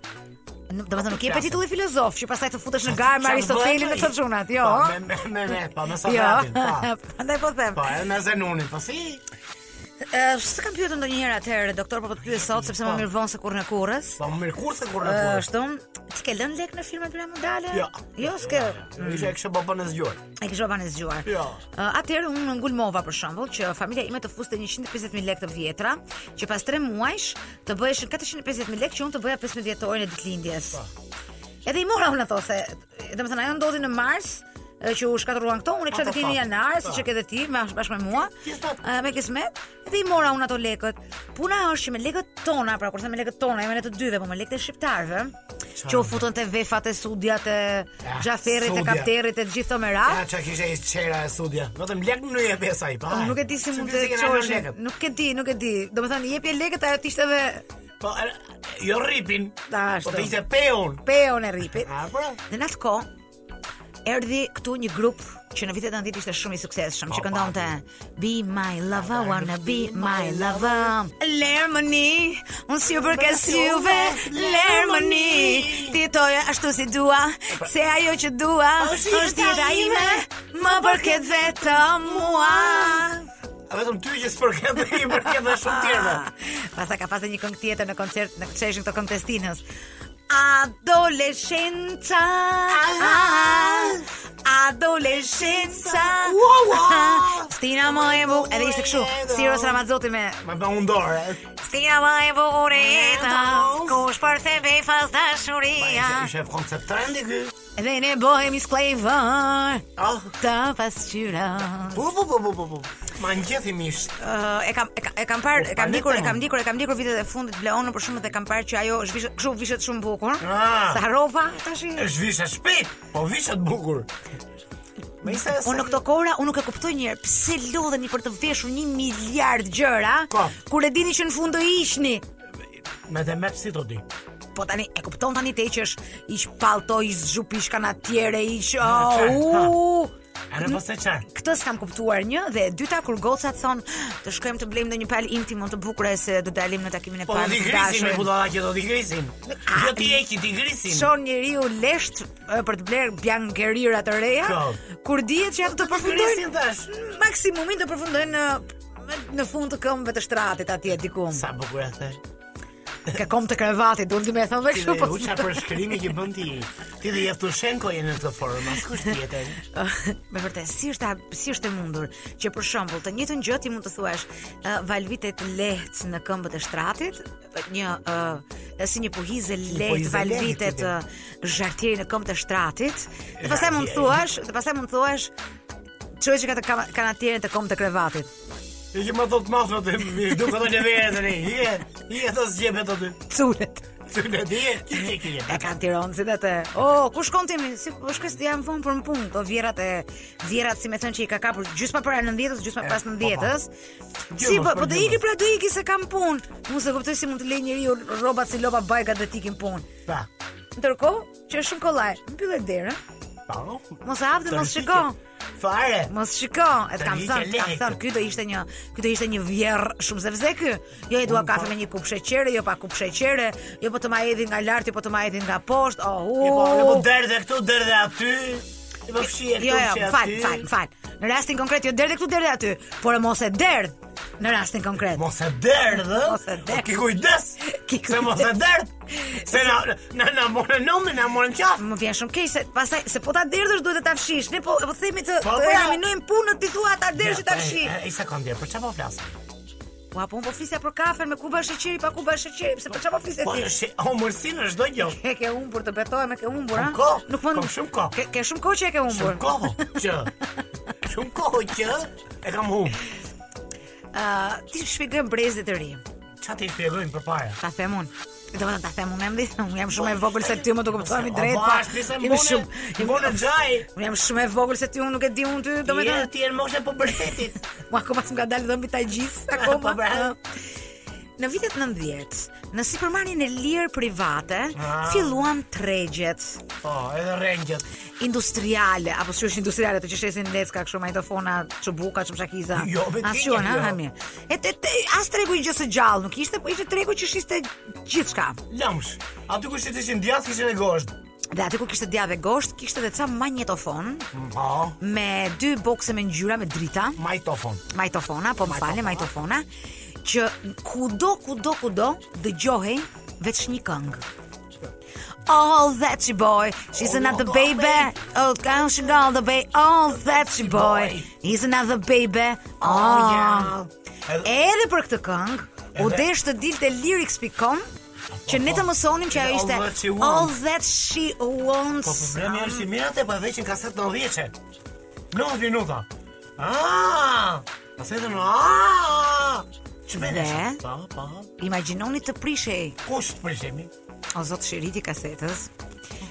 N- Domethënë nuk je Klasë. për titull filozof, që pastaj të futesh në garë me Çfarë Aristotelin bëhet me këto ai? gjunat, jo. Po, me me me, me po me Jo. Sokratin, po. Prandaj po them. Po, edhe me Zenunin, po si? Ë, S'të kam pyetur ndonjëherë atëherë, doktor, po po të pyes sot sepse më Po. mirë vonë se kurrë në kurrës. Po mirë kur se kur në Ë, kur. Ashtu, ti ke lënë lek në filmat piramidale? Jo. Jo, s'ke. Isha e kështë baba në zgjuar. E kisha banë zgjuar. Jo. Ë, Atëherë unë ngulmova për shembull që familja ime të fuste 150000 lekë të vjetra, që pas 3 muajsh të bëheshin 450000 lekë që unë të bëja 15 vjetorin e ditëlindjes. Edhe i mora unë ato se, domethënë ajo ndodhi në mars, e, që u shkatëruan këto, unë e kisha Ato të kemi fakt. janar, Po. siç e ke dhe ti, me- bashkë me mua. Kismet. ë, Me kismet, edhe i mora unë ato lekët. Puna është që me lekët tona, pra kur them me lekët tona, jemi ne të dyve, po me lekët e shqiptarëve, që u futën te vefat e sudjat e Ja, xhaferrit e sudja. kapterit e gjithë këto me radhë. Ja, që kishe i qera e sudja. Vetëm lek në jep e saj, pa. Po, Nuk e di si mund pse të kena çohesh. lekët? Nuk e di, nuk e di. Domethënë jepje lekët ajo ishte edhe Po, e- jo rripin. Ta, ashtu. Po të ishte peun. peon e ripit. A, pra. Dhe në atë kohë erdhi këtu një grup që në vitet 90 ishte shumë i suksesshëm, që Po, këndonte Be my lover, wanna be my lover. Lermoni, unë si ju përkes juve, Lermoni. Po. Ti toje ashtu si dua, se ajo që dua Është jeta është jeta ime, më përket vetëm mua. A vetëm ty që s'përket dhe i përket dhe shumë tjerëve. Pasta Ah, ka pasë një këngë tjetër në koncert në çeshin këto këngë testinës. Adolescenca Adolescenca Ua, ua. Stina më e bu Edhe ishte këshu Siros Ramazzotti me Ma pa unë dorë. e. Stina më e bu ureta Kush për the befas dashuria Ishe- Ishe koncept trendi ky. Dhe ne bohemi sklejvër Ah, Të pasqyra po, po, po, po, po, po. Ma ngjethi mish. Ë, e kam e kam e kam parë, e Po, kam ndikur, e falem. kam ndikur, e kam ndikur vitet e fundit Bleonën për shkakun dhe kam parë që ajo është vishë, kështu vishet shumë bukur. Ah. Sa harrova tash. i- Është vishet shpejt, po vishet bukur. Me isa Unë në këto kohra, unë Po nuk e kuptoj një herë pse lodheni për të veshur një miliard gjëra, Po. kur e dini që në fund do iqni. Me dhe mep si të di. Po tani e kupton tani te që është iq pallto, iq zhup, iq kanatiere, iq qartë, oh, u. A në pas e qarë. Këtë s'kam kuptuar një dhe e dyta kur gocat thon të shkojmë të blejmë ndonjë palë intimë të bukur e se do dalim në takimin e Po do parë. t'i të grisin me dashurin." budala që do t'i grisin. Jo t'i eki, t'i grisin. shon njeriu lesht e, për të bler bjangerira të reja, Ka. kur dihet që ato të përfundojnë Grisin tash. maksimumin të përfundojnë në në fund të këmbëve të shtratit atje diku. Sa bukur e thash. Ke kom të krevatit, duhet ti më e thon dhe Ti kështu dhe po. uqa për shkrimi që bën ti. Ti dhe Jevtushenko jenë në këtë formë, as kush tjetër. me vërtet, si është a- si është e mundur që për shembull të njëjtën gjë ti mund të thuash uh, valvitet lehtë në këmbët e shtratit, një uh, si një puhizë lehtë puhizë valvitet lehtë, uh, zhartieri në këmbët e shtratit. Dhe pastaj Zhartieri. mund thuash, dhe pastaj mund thuash Çoj që ka të kama- kanatierin të kom të krevatit. E që më thot mafra të mi duk ato lëveret tani. Je, je të zgjebet aty. Culet. Cyle je, ti je ki je. E kanë Tiranë si atë. O, ku shkon ti? mi? Si po shkoj jam vonë për në punë. Do vjerat e vjerat si më thënë që i ka kapur gjysma para 90-s, gjysma pas po, 90-s. Si Gjymës, po, për po do gjymës. iki pra do iki se kam punë. Unë se kuptoj si mund të lejë njeriu rrobat si lopa bajka dhe tikin punë. Pa. Ndërkohë që është shumë kollaj. Mbyllet derën. Pa. oh. Mos e hap dhe mos Tërhiqe. shiko. Fare. Mos shiko, e të kam Tërhiqe thënë, të kam lehtë. thënë, ky do ishte një, ky do ishte një vjerr shumë se vze ky. Jo e dua Unë kafe po- me një kupë sheqere, jo pa kupë sheqere, jo po të ma hedhin nga lart, jo po të ma hedhin nga poshtë. Oh, E po, e po uh. derdhe këtu, derdhe aty. E po fshije këtu, Jo, jo, fshije aty. fal, fal, fal. Në rastin konkret jo derdhe këtu derdhe aty, por e mos e derdh në rastin konkret. Mos e derdh, ë? Mos e derdh. O, Ki kujdes. Ki Se mos e derdh. Se na na na morë nëmë, na morën qafë. Më vjen shumë keq se pastaj se po ta derdhësh duhet të ta fshish. Ne po po themi të Po, të pra. eliminojmë punën ti thua ta derdhësh që ta fshi. E, e, Një sekondë, për çfarë po flasim? Po apo unë po flisja për kafen me kuba sheqeri pa kuba sheqeri, pse për çfarë po flisje Po, ti? është homërsi në çdo gjë. E ke humbur të betohem, e ke humbur, ha? Kam kohë, Nuk mund. kam shumë kohë. Ke, ke shumë kohë që e ke humbur. Shumë kohë që Shumë kohë që E kam hum Ë, Ah, ti shpjegoj brezit të ri. Qa ti shpjegojnë për para Ta them unë. Do të ta them unë më unë jam shumë e vogël se ty më do kuptoj mi O, drejt. po, bash, nisem jemi mbone- mbone gjaj. Unë jam shumë e vogël se ty unë nuk e di unë ty, Domethënë domethënë ti je në moshë e pubertetit. mua akoma s'm ka dalë dhëmbi ta gjis Po, akoma. bra. Në vitet 90, në supermarketin e lirë private, Ah. filluan tregjet Po, edhe rengjet. industriale, apo si është industriale, ato që shesin lecka kështu majtofona, çubuka, çumshakiza. Jo, me As dinje, qënë, ha, jo. ha, mirë. E te, te, as tregu i gjë së gjallë nuk ishte, po ishte tregu që shiste gjithçka. Lëmsh. Aty ku ishte ishin djathë kishin e gosht. Dhe aty ku kishte djave gosht, kishte edhe ca magnetofon Po, me dy bokse me ngjyra me drita, majtofon. majtofona, po më falni, majtofona, që kudo kudo kudo dëgjohej veç një këngë. All that you boy, she's another baby. Oh, can she go the way? All that you boy, he's another baby. Ah. Oh. Edhe- Edhe për këtë këngë, u desh të dilte lyrics.com që ne të mësonim që ajo All ishte that she wants. All that she wants. Po problemi është që mirat po e pa veqin kaset në dhjeqe. 9 minuta. Ah! Kaset në ah! Çmene. Dhe? Pa, pa. Ah, Imagjinoni të prishej Kush të prishemi? O zot shiriti i kasetës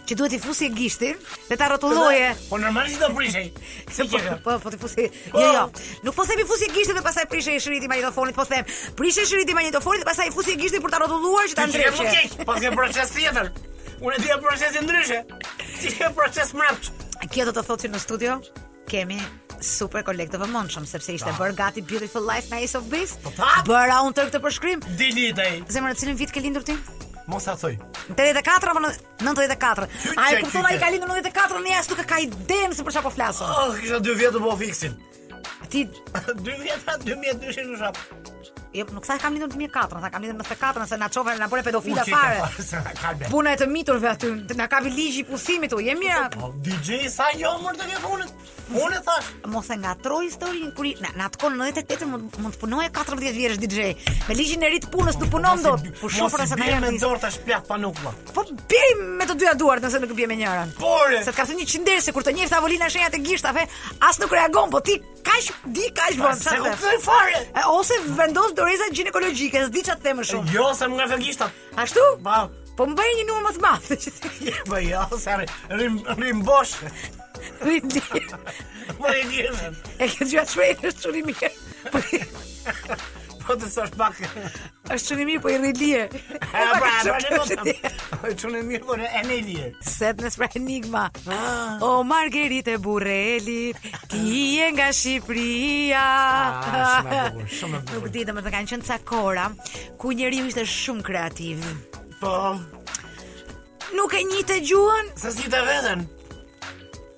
Që duhet i fusi e gishtin Dhe ta rotulloje Po normalisht do prishej. Si Po, që po, po të fusi Jo, jo Nuk po themi fusi e gishtin dhe pasaj prishe i shiriti i magnetofonit Po them prishe i shiriti i magnetofonit Dhe pasaj i fusi e gishtin për ta rotulluar që ta Ti ke më ndreqe keq, pas ke proces tjetër. Unë e di procesin ndryshe. Ti ke proces mbrapsht. Kjo do të thotë që në studio Kemi super kolektë të vëmendshëm sepse ishte bërë gati Beautiful Life na Ace of Base. Po, ta? Bëra unë tërë këtë përshkrim. Dili ai. Zemra, në cilin vit ke lindur ti? Mos a thoj. 84 apo në 94? Ai Qyçe, kupton ai qyçe. ka lindur në 94, ne as nuk e ka idenë se për çfarë po flasim. Oh, kisha 2 vjet u bë fiksin. Ti 2 vjet, 2002 në shap. Jo, nuk sa e kam lindur në 2004, sa kam lindur në 94, se na çove na bëre pedofila U qike fare. se na Kalbe. Puna e të miturve aty, na kapi ligji i pusimit u. Je mira, Po DJ sa jo mor të telefonit. Unë e thash. mos e ngatroj historinë kur i- na, na takon në 98 mund mund të punoje 14 vjeç DJ. Me ligjin e ri të punës nuk punon dot. Po shumë pra se na me janë. dorë tash plak panuklla. Po bie me të dyja duart nëse nuk bie me njërin. Pore. Se të ka thënë një qinder se kur të njeh tavolina shenjat e gishtave, as nuk reagon, po ti kaq di kaq bën. Po, Se sa të- kuptoj fare. E, Ose vendos doreza gjinekologjike, s'di çfarë të them më shumë. Jo, se më nga fegishtat. Ashtu? Pa. Po më bëri një numër më të madh që ti. Je po jo, se arri- rim rim bosh. Rindi. Mor e di. E ke dëgjuar shprehjen është shumë i mirë. Po Po të sosh pak. është shumë i mirë, po i rri lirë. E pra, e pra në Ti. botë. E çunë Po, mirë, por e në lirë. Sadness pra enigma Ah. O Margeritë e Burrelit Ti je nga Shqipëria Ah, shumë e bukur, shumë e bukur. Nuk di, domethënë kanë qenë ca kora Ku njeriu ishte shumë kreativ Po, Nuk e njihte gjuhën se si të veten.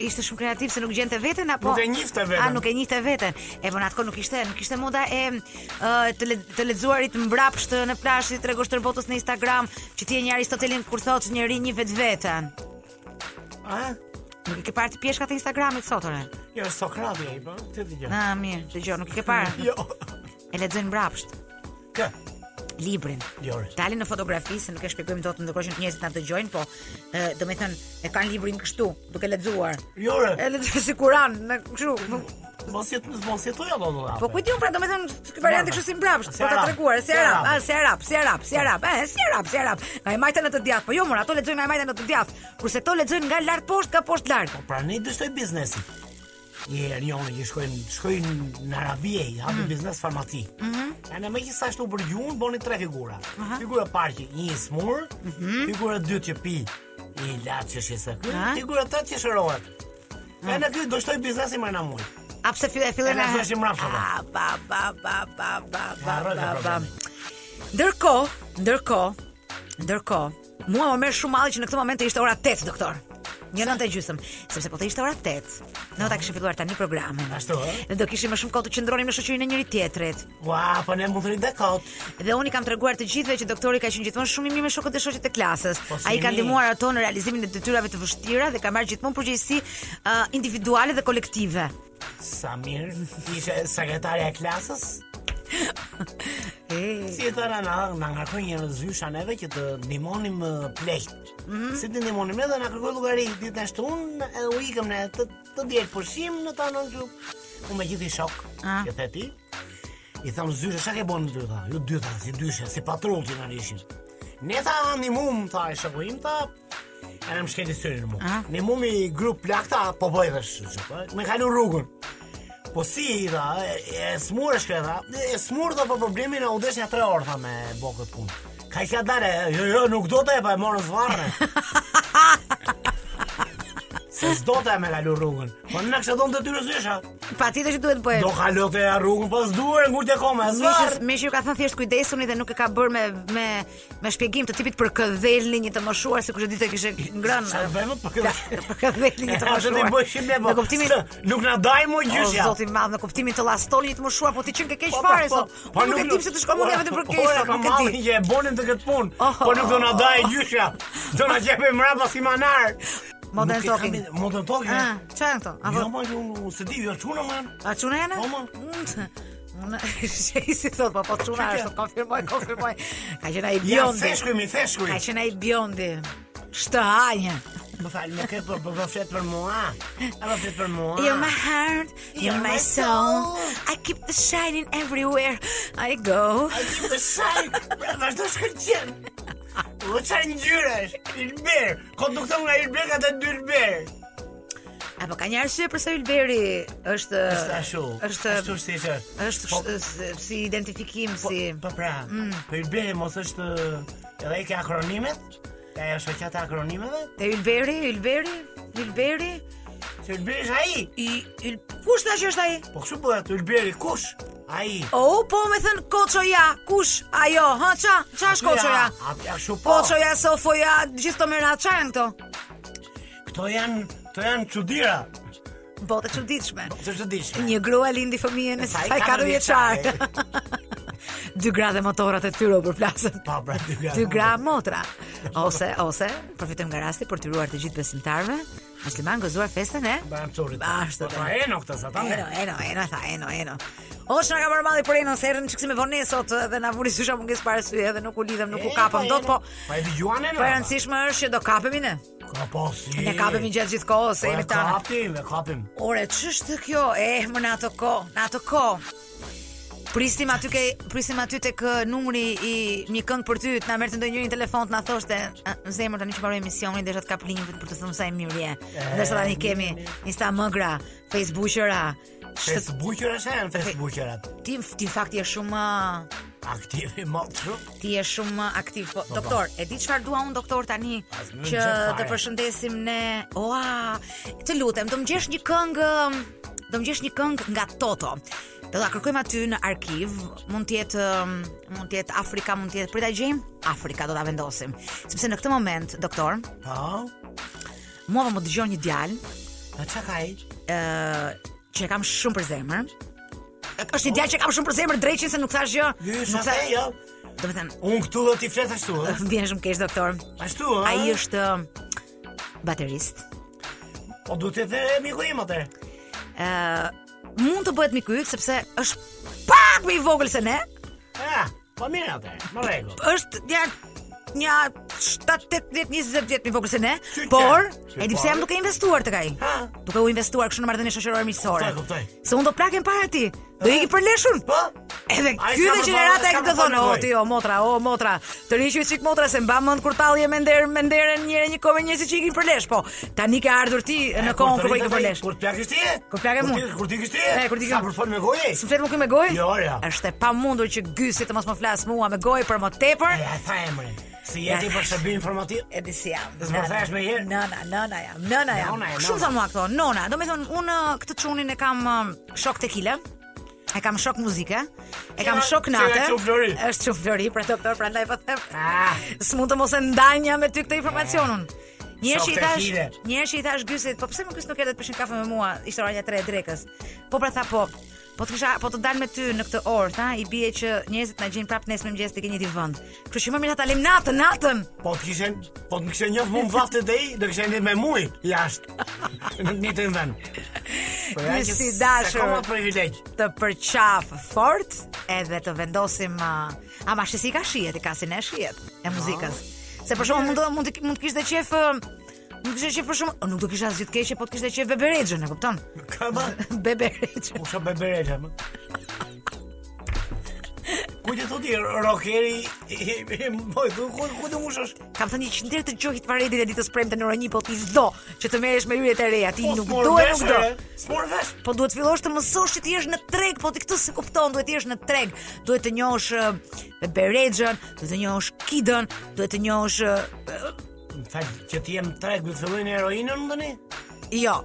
Ishte shumë kreativ se nuk gjente veten apo Nuk e njihte veten. A nuk e njihte veten. E po në atë kohë nuk ishte, nuk ishte moda e ë, të le, të lexuarit mbrapsht në plazh, të tregosh tërbotës në Instagram, që ti je një Aristotelin kur thotë që njëri një vetveten. A? Nuk e ke parë ti pjeshkat e Instagramit sot ore. Jo, Sokrati ai, po, ti di gjë. Na mirë, dëgjoj, nuk e ke parë. Jo. E lexojnë mbrapsht Kë? librin. Jore. Dalin në fotografi, se nuk e shpjegojmë dot ndërkohë që njerëzit na dëgjojnë, po ë, do me thënë e kanë librin kështu, duke lexuar. Jore. E lexoj si Kur'an, në kështu, nuk- Mos jet mos jetoj apo do Po kujt diun pra domethënë ky variant kështu si mbrapsht, Si po ta Arab. treguar, si Si arab, Arab. a si arab, si arab, si arab, e si arab, si arab. eh, Nga e majta në të djathtë, po jo mor, ato lexojnë nga e majta në të djathtë, kurse to lexojnë nga lart poshtë, nga poshtë lart. Pra ne dështoj biznesin. Një herë jonë që shkojnë, shkojnë në Arabi, i Mhm. hapi biznes farmaci. Ja në me që sa shtu për gjunë, boni tre figura. Figura e parë që një smur, figura e dytë që pi i latë që shisë kë, Mhm. Aha. figura e tretë që shërohet. Ja në këtë dështoj biznesi më në mund. A pse filloi filloi E na thoshin mbrapsht, apo? A, Ah, Ba ba ba ba ba ba Ja, rroke ba ba. problemi. Ndërkohë, ndërkohë, ndërkohë, mua më merr shumë malli që në këtë moment të ishte ora 8, doktor. Një nëntë e gjysmë, sepse po të ishte ora 8. Ne ta kishim filluar tani programin. Ashtu, eh? ë? Ne do kishim më shumë kohë të qëndronim në shoqërinë e njëri tjetrit. Ua, po ne mund të rritë dhe kotë. Dhe unë i kam treguar të gjithëve që doktori ka qenë gjithmonë shumë i mirë me shokët e shoqet e klasës. Po, si Ai ka mirë. ndihmuar ato në realizimin e detyrave të vështira dhe ka marrë gjithmonë përgjegjësi uh, individuale dhe kolektive. Samir, ishe sekretarja e klasës, E, Si e thëra na na ngarkoj një zysha neve që të ndihmonim eh, pleqt. Mhm. Si të ndihmonim ne dhe na kërkoi llogari ditën e shtunë, e u ikëm ne të të diel pushim në tanë këtu. Unë me gjithë i shok, Ah. që the ti. I tham zyshe, çka ke bën ty tha? Ju dy tha, si dyshe, si patrull ti na rishin. Ne tha animum tha e shoku im tha. Era më shkëti syrin mu. Ah. Ne mumi grup plakta po bëj vesh. Me kalu rrugën. Po si i dha, e, e smurë shkre dha, e smurë dhe për problemin e u deshja tre orë tha me bokët punë. Ka i ka dare, jo jo, nuk do të e pa e morë zvarre. Se s'do të e me kalu rrugën. Po në kështë donë të tyre zysha. patjetër që duhet bëhet. Do kalu të e rrugën, po pas duhe në kur të kome, Mishës, zvarë. mishë ju ka thënë thjesht kujdesuni dhe nuk e ka bërë me me me shpjegim të tipit për këdhelni një të moshuar sikur e ditë e kishte ngrënë. Sa të bëjmë Po për këtë? Ka- Për këdhelni një të Ja, të ti moshuar. bëjshim ne po. Në kuptimin Së, Nuk na daj mu O gjyshja. zoti i madh, në kuptimin të lastoli të moshuar, po ti qen ke keq Po, po, fare po. sot. Po, Unë nuk e di pse të shkon mundja vetëm për keq, Ora, sot, nuk ka e mallin di. që e bonin të këtë punë. Oh, Po nuk do na oh, daje gjyshja. Do na jepë mbrapa si manar. Modern po, Nuk e Talking. kam- Modern Talking. Ah, çfarë janë këto? Jo, Apo ma ju unë se di, jo çuna man. a çuna janë? Po, mo. Mm, Unë shej si thot, po po çuna Çka? është, konfirmoj, konfirmoj. Ka qenë ai Ja bjondi. theshkuj mi theshkuj. Ka qenë ai bjondi. Shtë hanje. Më fal, më ke po po flet për mua. A po flet për mua? You're my heart, you're, You're my my soul. soul. I keep the shining everywhere I go. Ai ti të shaj. Pra, Vazhdo shkëlqen. U çan ngjyrash. Ilber, konduktor nga Ilber ka të dy Ilber. Apo ka një arsye pse Ylberi është Është ashtu. Është ashtu si që. është Po, sh- s- si identifikim si Mm. Po pra, po i bëhe mos është edhe i ke akronimet? Ka e shoqata e akronimeve? te Ylberi, Ylberi, Ylberi Që Ylberi është ai. i Yl... Kush tash është ai? Po kështu bëhet Ylberi kush? Ai. Oh, po me thën Koçoja, kush? Ajo, ha ça? Ça është Koçoja? A a kështu po. Koçoja, Sofoja, gjithë këto mëra, çfarë janë këto? Kto janë, këto janë çuditëra. Botë e çuditshme. Të çuditshme. Një grua lindi fëmijën e Sa i saj ka 4 vjeçar. vjeçare. Dy gra dhe motorat e tyre u përplasën. Pa pra dy gra. Dy gra motra. Ose ose përfitojmë nga rasti për të ruar të gjithë besimtarve. Musliman gëzuar festën e Bam çurit. Bashkë, pra, Po e. e no këtë sa ta. Eno, eno, eno, tha, eno, eno. O shna ka marrë malli për eno, se erën që kësi me vonë sot dhe na vuri sysha munges para syje dhe nuk u lidhem, nuk u kapëm dot, po Pa e dëgjuan e po e rëndësishme është që do kapemi ne. Ka po si. Ne kapemi gjatë gjithë kohës, Po e e jemi tanë. kapim, e kapim. Ore, ç'është kjo? E, më në ato kohë, në ato kohë. Pristim aty ke pristim aty tek ë, numri i një këngë për ty, të na merrte ndonjëri në telefon të na thoshte, "A, në zemër tani që mbaroi emisionin, desha të kap linjën vetë për të thënë sa e mirë je. Ndërsa tani kemi Instagram, Facebook-ra. Fes buqër është e në fes buqërat. Ti ti në fakt je shumë uh, ë, Aktivi më të shumë. ti je shumë aktiv. Po, doktor, e di çfarë dua unë doktor tani As më që ngjet fare. të përshëndesim ne. Oa, të lutem, do më gjesh një këngë, do më gjesh një këngë nga Toto. Do ta kërkojmë aty në arkiv, mund të jetë um, mund të jetë Afrika, mund të jetë për ta gjejmë Afrika do ta vendosim. Sepse në këtë moment, doktor, Po. mua më dëgjon një djalë A çka ka ai? ë që e kam shumë për zemër. Është një djalë që e kam shumë për zemër drejtin se nuk thash gjë. Jo, nuk sa tha- the, jo. Domethënë, Unë këtu do t'i flet ashtu, ë? më vjen shumë keq doktor. Ashtu, ë? Ai është um, baterist. Po duhet të the miku im atë. Mund të bëhet miku yt sepse është pak më i vogël se ne. Ah, po mirë atë. Në rregull. Është ja një 7, 8, 10, 20 vjet më vogël se ne, Qyqe. por Si e di pse por. jam duke investuar tek ai. Ha? Duke u investuar kështu në marrëdhënie shoqërore miqësore. Kuptoj, kuptoj. Se unë do plakem para ti. Do iki për leshun. Po? Edhe ky Ai s'ka dhe për gjenerata e s'ka këtë për thonë, o nevojë." ti o motra, o motra, të riqu i sik motra se mba mend kur tallje me nder, me nderën njëre një kohë me njerëz që ikin për lesh, po tani ke ardhur ti në kohën kur po ikin për lesh. Kur të plakësh ti? e? Kur plakem Kur unë. ti- Kur ti kish ti? E, kur ti Sa kem. për fol me gojë? Së më flet më këj me gojë? Jo, ja. Është e pamundur që gysi të mos më flas mua me gojë për më tepër. E, a tha emrin. Si jeti për shërbim informativ? E di si jam. Dhe s'më thash me herë? Nëna, nëna jam, nëna jam. Nëna e Shumë nëna. sa mua këto, nona. Do me thonë, unë uh, këtë qunin e kam um, shok tekile, e kam shok muzike, e kam Qira- shok qira nate. qum flori. Është qum flori, pra doktor, pra ndaj po them. Ah. S'mund të mos e ndanja me ty këtë informacionun. Një herë që i Shok thash, tekile. një herë që i thash gysit, po pse më gys nuk edhe të pishin kafe me mua, ishte ora 3 e drekës. Po pra tha po, po të kisha po të dal me ty në këtë orë, tha, i bie që njerëzit na gjejnë prapë nesër mëngjes tek një ditë vend. Kështu që më mirë ta lëm natën, natën. Po të kishen, po të më kishen njëfë mund vlaftë të i, do kishen një me muj, jashtë, në të një të vend. Po ja Ky që si se dashur. Ka më privilegj. të përqaf fort edhe të vendosim uh, ama shesi ka shihet, i ka si ne shihet e muzikës. Se për shkakun mund të mund të mund të kishte qef uh, Nuk kishte qef për shumë, nuk do kisha asgjë të keqe, po të kishte qef beberexhën, e kupton? Ka më, Beberexhën. u shë bebereqa më. Ku që thotë i rockeri, i- i- moj, ku ku ku të mushësh? Kam thënë që ndër të gjohit varedit e ditës premte në orën 1, po ti s'do që të merresh me yjet e reja, ti Po, nuk s'mor do, e vesh, nuk do. e, S'mor vesh. Po duhet fillosh të mësosh që ti jesh në treg, po ti këtë se kupton, duhet të jesh në treg. Duhet të njohësh uh, Berexhën, duhet të njohësh Kidën, duhet të njohësh uh, Më tha që ti jem treg, du të fillojnë heroinën më tani? jo.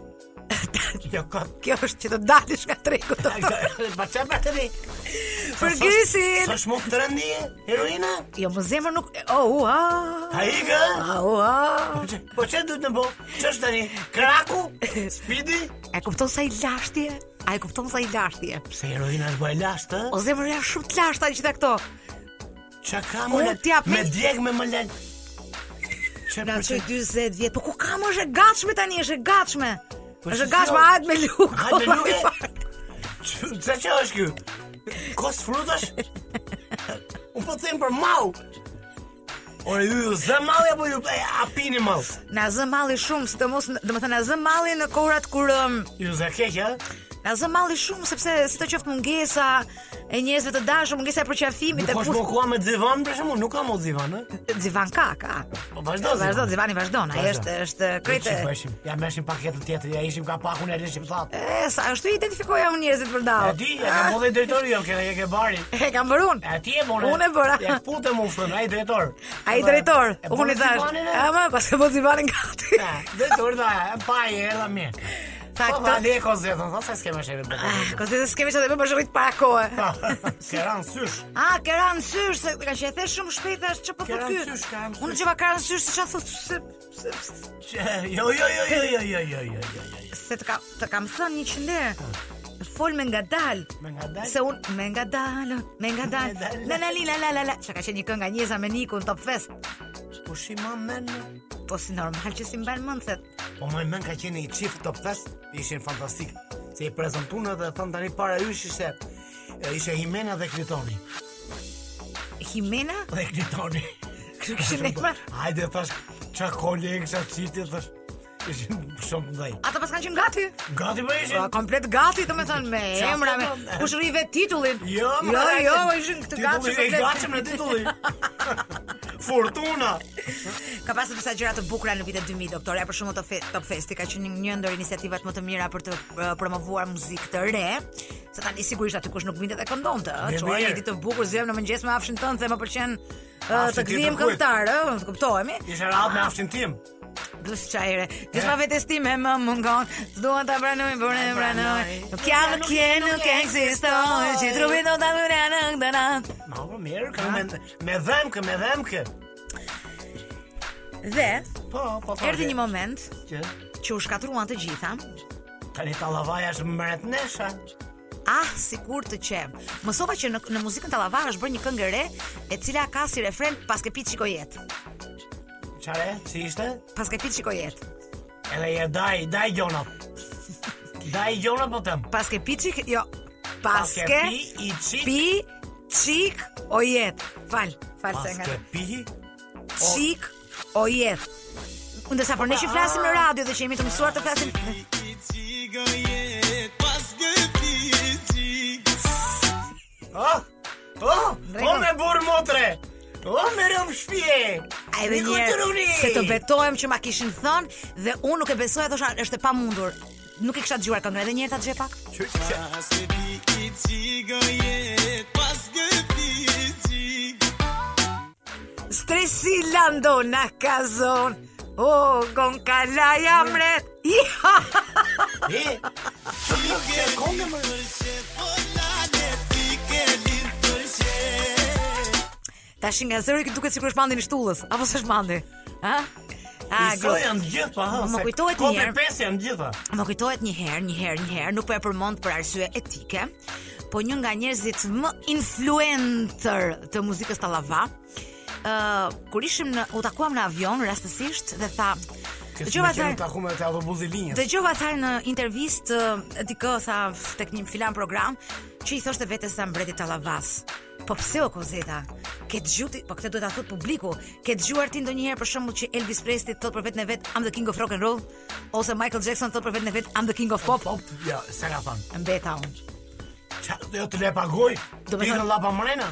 Jo, ka. Kjo është që të dalësh nga tregu të Pa që pa të ri? Për gysin. Sa shmo të rëndi e, heroina? Jo, më zemër nuk... Oh, ua! A i ka? Au, ua! Po që- Po që du të në bo? Që është tani? Kraku? Spidi? E kupton sa i lashti je? A e kupton sa i lashti je? Pse heroina është bëj lashtë, O zemër janë shumë të lashta gjitha këto. Që ka më Unë lën? t'jap Me me- Pra djeg me më lën? Që Na për çoj që... 40 vjet. Po ku kam është e gatshme tani, është e gatshme. Po Është e si gatshme s'jo? hajt me lukë. Hajt me lukë? që- Se që është kjo? Kos frutash? Unë po të them për mau. Ore, ju zë malli apo ju e, a pini mau? Na zë malli shumë, sidomos, domethënë na zë malli në kohrat kur um, Ju zë keq, ha? na zë malli shumë sepse si të qoftë mungesa e njerëzve të dashur, mungesa e përqafimit Nuk e është pus po kua me divan për shembull, nuk ka mo divan, ha? Zivan ka, ka. Po vazhdo. Vazhdo, divan. Zivani vazhdon, ai Vazhdo. është është krejtë. Po ishim, ja mëshim paketën tjetër, ja ishim ka pakun e lëshim thatë. E sa ashtu i identifikoja unë njerëzit për dau. E di, e ka po dhe drejtori jo, kena je ke bari. E kam bërë unë. E ti e bërë. Unë e bëra. Ja putë më ufën, ai drejtor. Ai drejtor, E unë i bërë thash. Zivanin, e? Ama pas ka bërë Zivanin gati. Ja, drejtor da, e pa i erdha mirë. Tha Po këtë- vali e kozetën, tha se s'kemë shëve bëtë. Kosi Ah, se s'kemi çfarë të bëjmë për shërit para Po. kohë. Keran sysh. A, keran sysh, se ka që e the shumë shpejt, thash ç'po po Keran ky. sysh, keran sysh. Unë gjeva keran sysh, se çfarë thotë, se se Që- Jo, jo, jo, jo, jo, jo, jo, jo, jo, jo. se të kam të kam thënë një herë. Fol me ngadal. Me nga dalë? Se unë me ngadal, me ngadal. Ngadal. La la li, la la la la. Çka ka qenë një këngë nga Njeza me Nikun Top Fest. Po shi ma men. Po si normal që si mban mend se Po më men ka qenë i qift top fest, ishin fantastik. Se i prezantuan dhe thënë tani para ysh ishte e, ishte Himena dhe Klitoni. Himena Dhe Klitoni. Kështu emra. po. Hajde thash, qa kolegë, qa qiti, thash, ishin shumë të ndaj. Ata pas kanë qenë gati. Gati për Po, ishin? komplet gati, do me thënë, me Qaftë, emra, me po. kush rrive titullin. Jo, më jo, ka jo, qenë. ishin këtë Titulli, gati E komplet. gatshëm në titulli. Fortuna. Ka pasur disa gjëra të bukura në vitet 2000, doktore. Për shembull, Top Fe- Top Festi ka qenë një ndër iniciativat më të mira për të uh, promovuar muzikë të re. Se tani sigurisht aty kush nuk vinte dhe këndonte, ë, Me çoj mirë. një ditë të bukur zëm në mëngjes me afshin tënd dhe më pëlqen ë, Afshi të ti gdhijem të kujt? këngëtar, ë, të kuptohemi. Ishe rahat me afshin tim. Plus çajre. Gjithma vetes time më mungon. S'dua Eh. ta pranoj, por e pranoj. Nuk jam kje, nuk ekzistoj. Që trupi do ta bëra në këtë natë. Ma po mirë, kam me, me dhemkë, me dhemkë. Dhe Po, po, po. erdhi një moment Që, që u shkatruan të gjitha. tani tallavaja është mret nesha. Ah, sikur të qem. Mësova që në, në muzikën tallava është bërë një këngë e re, e cila ka si refren pas ke pit shikojet. Çare, si ishte? Pas ke pit shikojet. Edhe je daj, daj gjona. Daj gjona po tem. Pas ke pit shik, jo. Pas Paske ke pi i qik. pi çik ojet. Fal, fal se Paske nga. pi Çik o jetë. Ndërsa për ne që flasim në radio dhe që jemi të mësuar të flasim Oh, oh, Ndrejko. o me burë motre, o me rëmë shpje, A e Niku njerë Turuni. se të betohem që ma kishin thënë dhe unë nuk e besoja thosha është e pamundur. Nuk e kisha dëgjuar këngën edhe një herë ta dëgjoj pak. Që- që- Stresi lando na kazon. O gonkala jamret. Iha. E, që kongë më Tash nga zëri që duket sikur është mandi i shtullës, apo s'është mandi? Ha? A, Iso gru- janë gjithë pa ha, Më se kujtohet kope njëherë. pesë janë gjitha. Më kujtohet një herë, një herë, një herë, nuk po e përmend për arsye etike, po një nga njerëzit më influencer të muzikës tallava, ë kur ishim në u takuam në avion rastësisht dhe tha Dëgjova të atë takume te autobusi linjës. Dëgjova atë në intervistë ë, dikë tha f- tek një filan program që i thoshte vetes sa mbreti Tallavas. Po pse o Kozeta? Ke dëgjuar ti, po këtë duhet ta thot publiku. Ke dëgjuar ti ndonjëherë për shembull që Elvis Presley thot për veten e vet I'm the king of rock and roll ose Michael Jackson thot për veten e vet I'm the king of pop? Po, ja, se ka thënë. Mbeta unë. Qa, jo të le pagoj. Do me Ti thënë- kanë llapa mrena?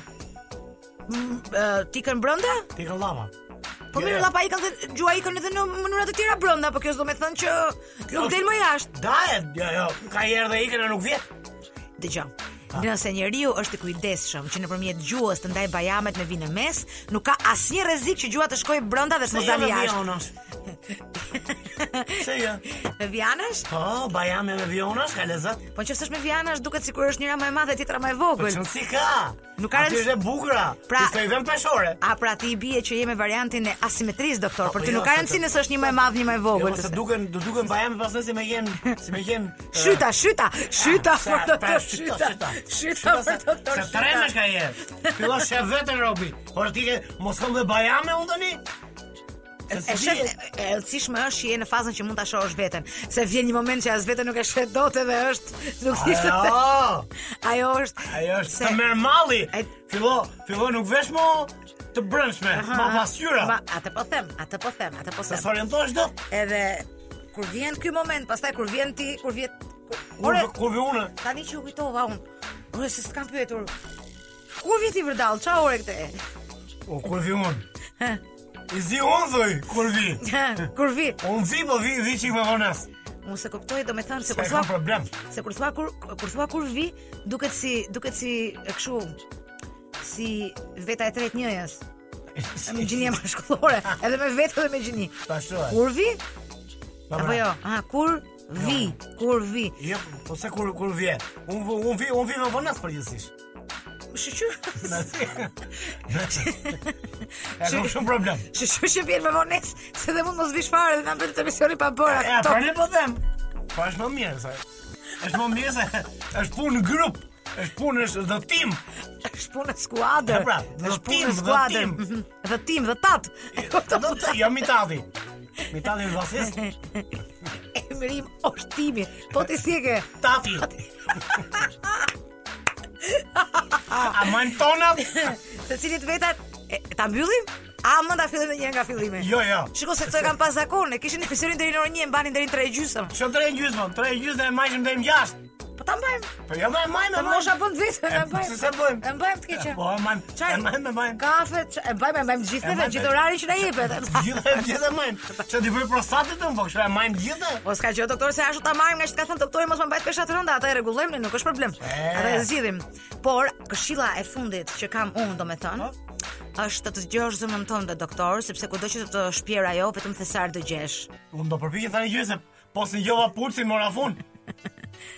Ë, Mm, ti kën brenda? Ti kanë llapa. Po Jo, mirë, jo. llapa i kanë dhe gjua i kanë edhe në mënyra të tjera brenda, po kjo s'do me thënë që nuk del më jashtë. Dahet, jo, jo, ka herë dhe ikën e nuk vjet. Dëgjoj. Nëse njeriu është i kujdesshëm që nëpërmjet gjuhës të ndaj bajamet me vinë në mes, nuk ka asnjë rrezik që gjuha të shkojë brenda dhe të mos dalë jashtë. vionash. Se jo. Me vianash? Po, bajame me vionash, ka lezat. Po nëse është me vianash duket sikur është njëra më e madhe e tjetra më e Po vogël. çon si ka. Nuk ka Aty rëndë- është e bukura. Pra- Ti stoi vend peshore. A pra ti i bie që je me variantin e asimetrisë doktor, Po, për ty jo, nuk ka se rëndësi të- nëse është një më e madhe një më e Jo, vogël. se po, se- duken, do duken bajame pas nëse me jen, si me jen. eh, Shyta, shyta, shyta sa- për pra, doktor, shyta, shyta. shyta. Shyta për doktor. Se shyta. tremesh ka je. Fillon shef vetën robi. Por ti ke mos kam dhe bajame unë tani. Se si E shef, e- di- e rëndësishme është që je në fazën që mund ta shohësh veten, se vjen një moment që as veten nuk e sheh dot edhe është nuk di se Ajo, Ajo është ajo është se- të merë malli. E- Fillo, fillo nuk vesh mo të brëndshme, Aha. ma pasyra. Ma, atë po them, atë po them, atë po Se them. s'orientohesh do. Edhe kur vjen ky moment, pastaj kur vjen ti, kur vjen kur- Kur Ore, kur vi unë? tani që u kujtova unë. Ore, se s'kam pyetur. Ku vjen ti vërdall? Ç'a ore këte? O kur vi unë? I zi unë thuj, kur vi. kur vi? Unë vi, po vi, vi qik me vonas. Unë se kuptoj, domethënë se po Se kur thua ka problem. se kur thua kur kur thua kur vi, duket si duket si e kështu si veta e tretë njëjës. Me gjinie mashkullore, edhe me vetë edhe me gjini. Pa shtu, e. Kur vi? Pa Apo pra. jo? Aha, kur vi? Kur vi? Jo, po se kur kur vje. Unë vu- unë vi, unë vi me vonas përgjithsisht. Shqyr. Na si. E kam shumë problem. Shqyr që vjen me vonesë, se dhe mund mos vish fare dhe na bëhet emisioni pa bërë. Ja, po ne po them. Po është më mirë se. Është më mirë se është punë në grup. Është punë është dhe tim. Është punë e skuadër. Ja, pra, dhe Është tim, punë e dhe skuadër. tim. Mhm. Dhe tim, dhe tat. E kupton? Do të jo mitati. Mitati është vasist. Emrim është timi. Po ti si e ke? Tati. A majmë tonat? Se cilit vetat e, ta mbyllim? A mund ta fillim një nga fillimi? Jo, jo. Shiko se këto e kanë pas zakon, e kishin emisionin deri në orën 1, e mbanin deri në 3 gjysmë. Që tre gjysmë, tre gjysmë dhe e majshim dhe im gjashtë. Po ta mbajmë. Po jo dhe e majmë, Ta e mosha majmë. bën vetën, E, e mbajmë. pse se bëjmë? E mbajmë të keqen. Po e majmë, e Çaj. majmë, e majmë. Kafe, ç- e mbajmë, e mbajmë gjithë E vetë, mbajmë. gjithë orarin që na jepet. Gjithë e gjithë e majmë. Që t'i bëj prostatit unë, po kështu e majmë gjithë. Po s'ka gjë doktor se ashtu ta marrim nga që ka thënë doktori mos më mbajt pesha të rënda, ata e rregullojmë ne, nuk është problem. Ata e zgjidhim. Por këshilla e fundit që kam unë Po. domethënë është të dëgjosh zëmën tonë dhe doktor, sepse kudo që të të shpjer ajo, vetëm thesar dëgjesh. Unë do përpiqem tani gjysmë, po si gjova pulsin mora fun.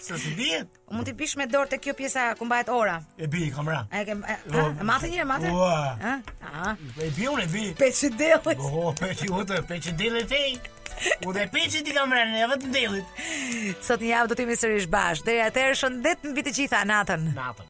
Se si dihet? Mund t'i pish me dorë te kjo pjesa ku mbahet ora. E bi kamera. A e ke e- ha? e matë një, e matë? Ua. Ha? Ha? E bi unë e bi. Peçi dellit. Oh, pe që utë, pe që delit e. U dhe pe që ti kamerën, e vetëm delit. Sot një javë do të jemi sërish bash. Deri atëherë shëndet mbi të gjitha natën. Natën.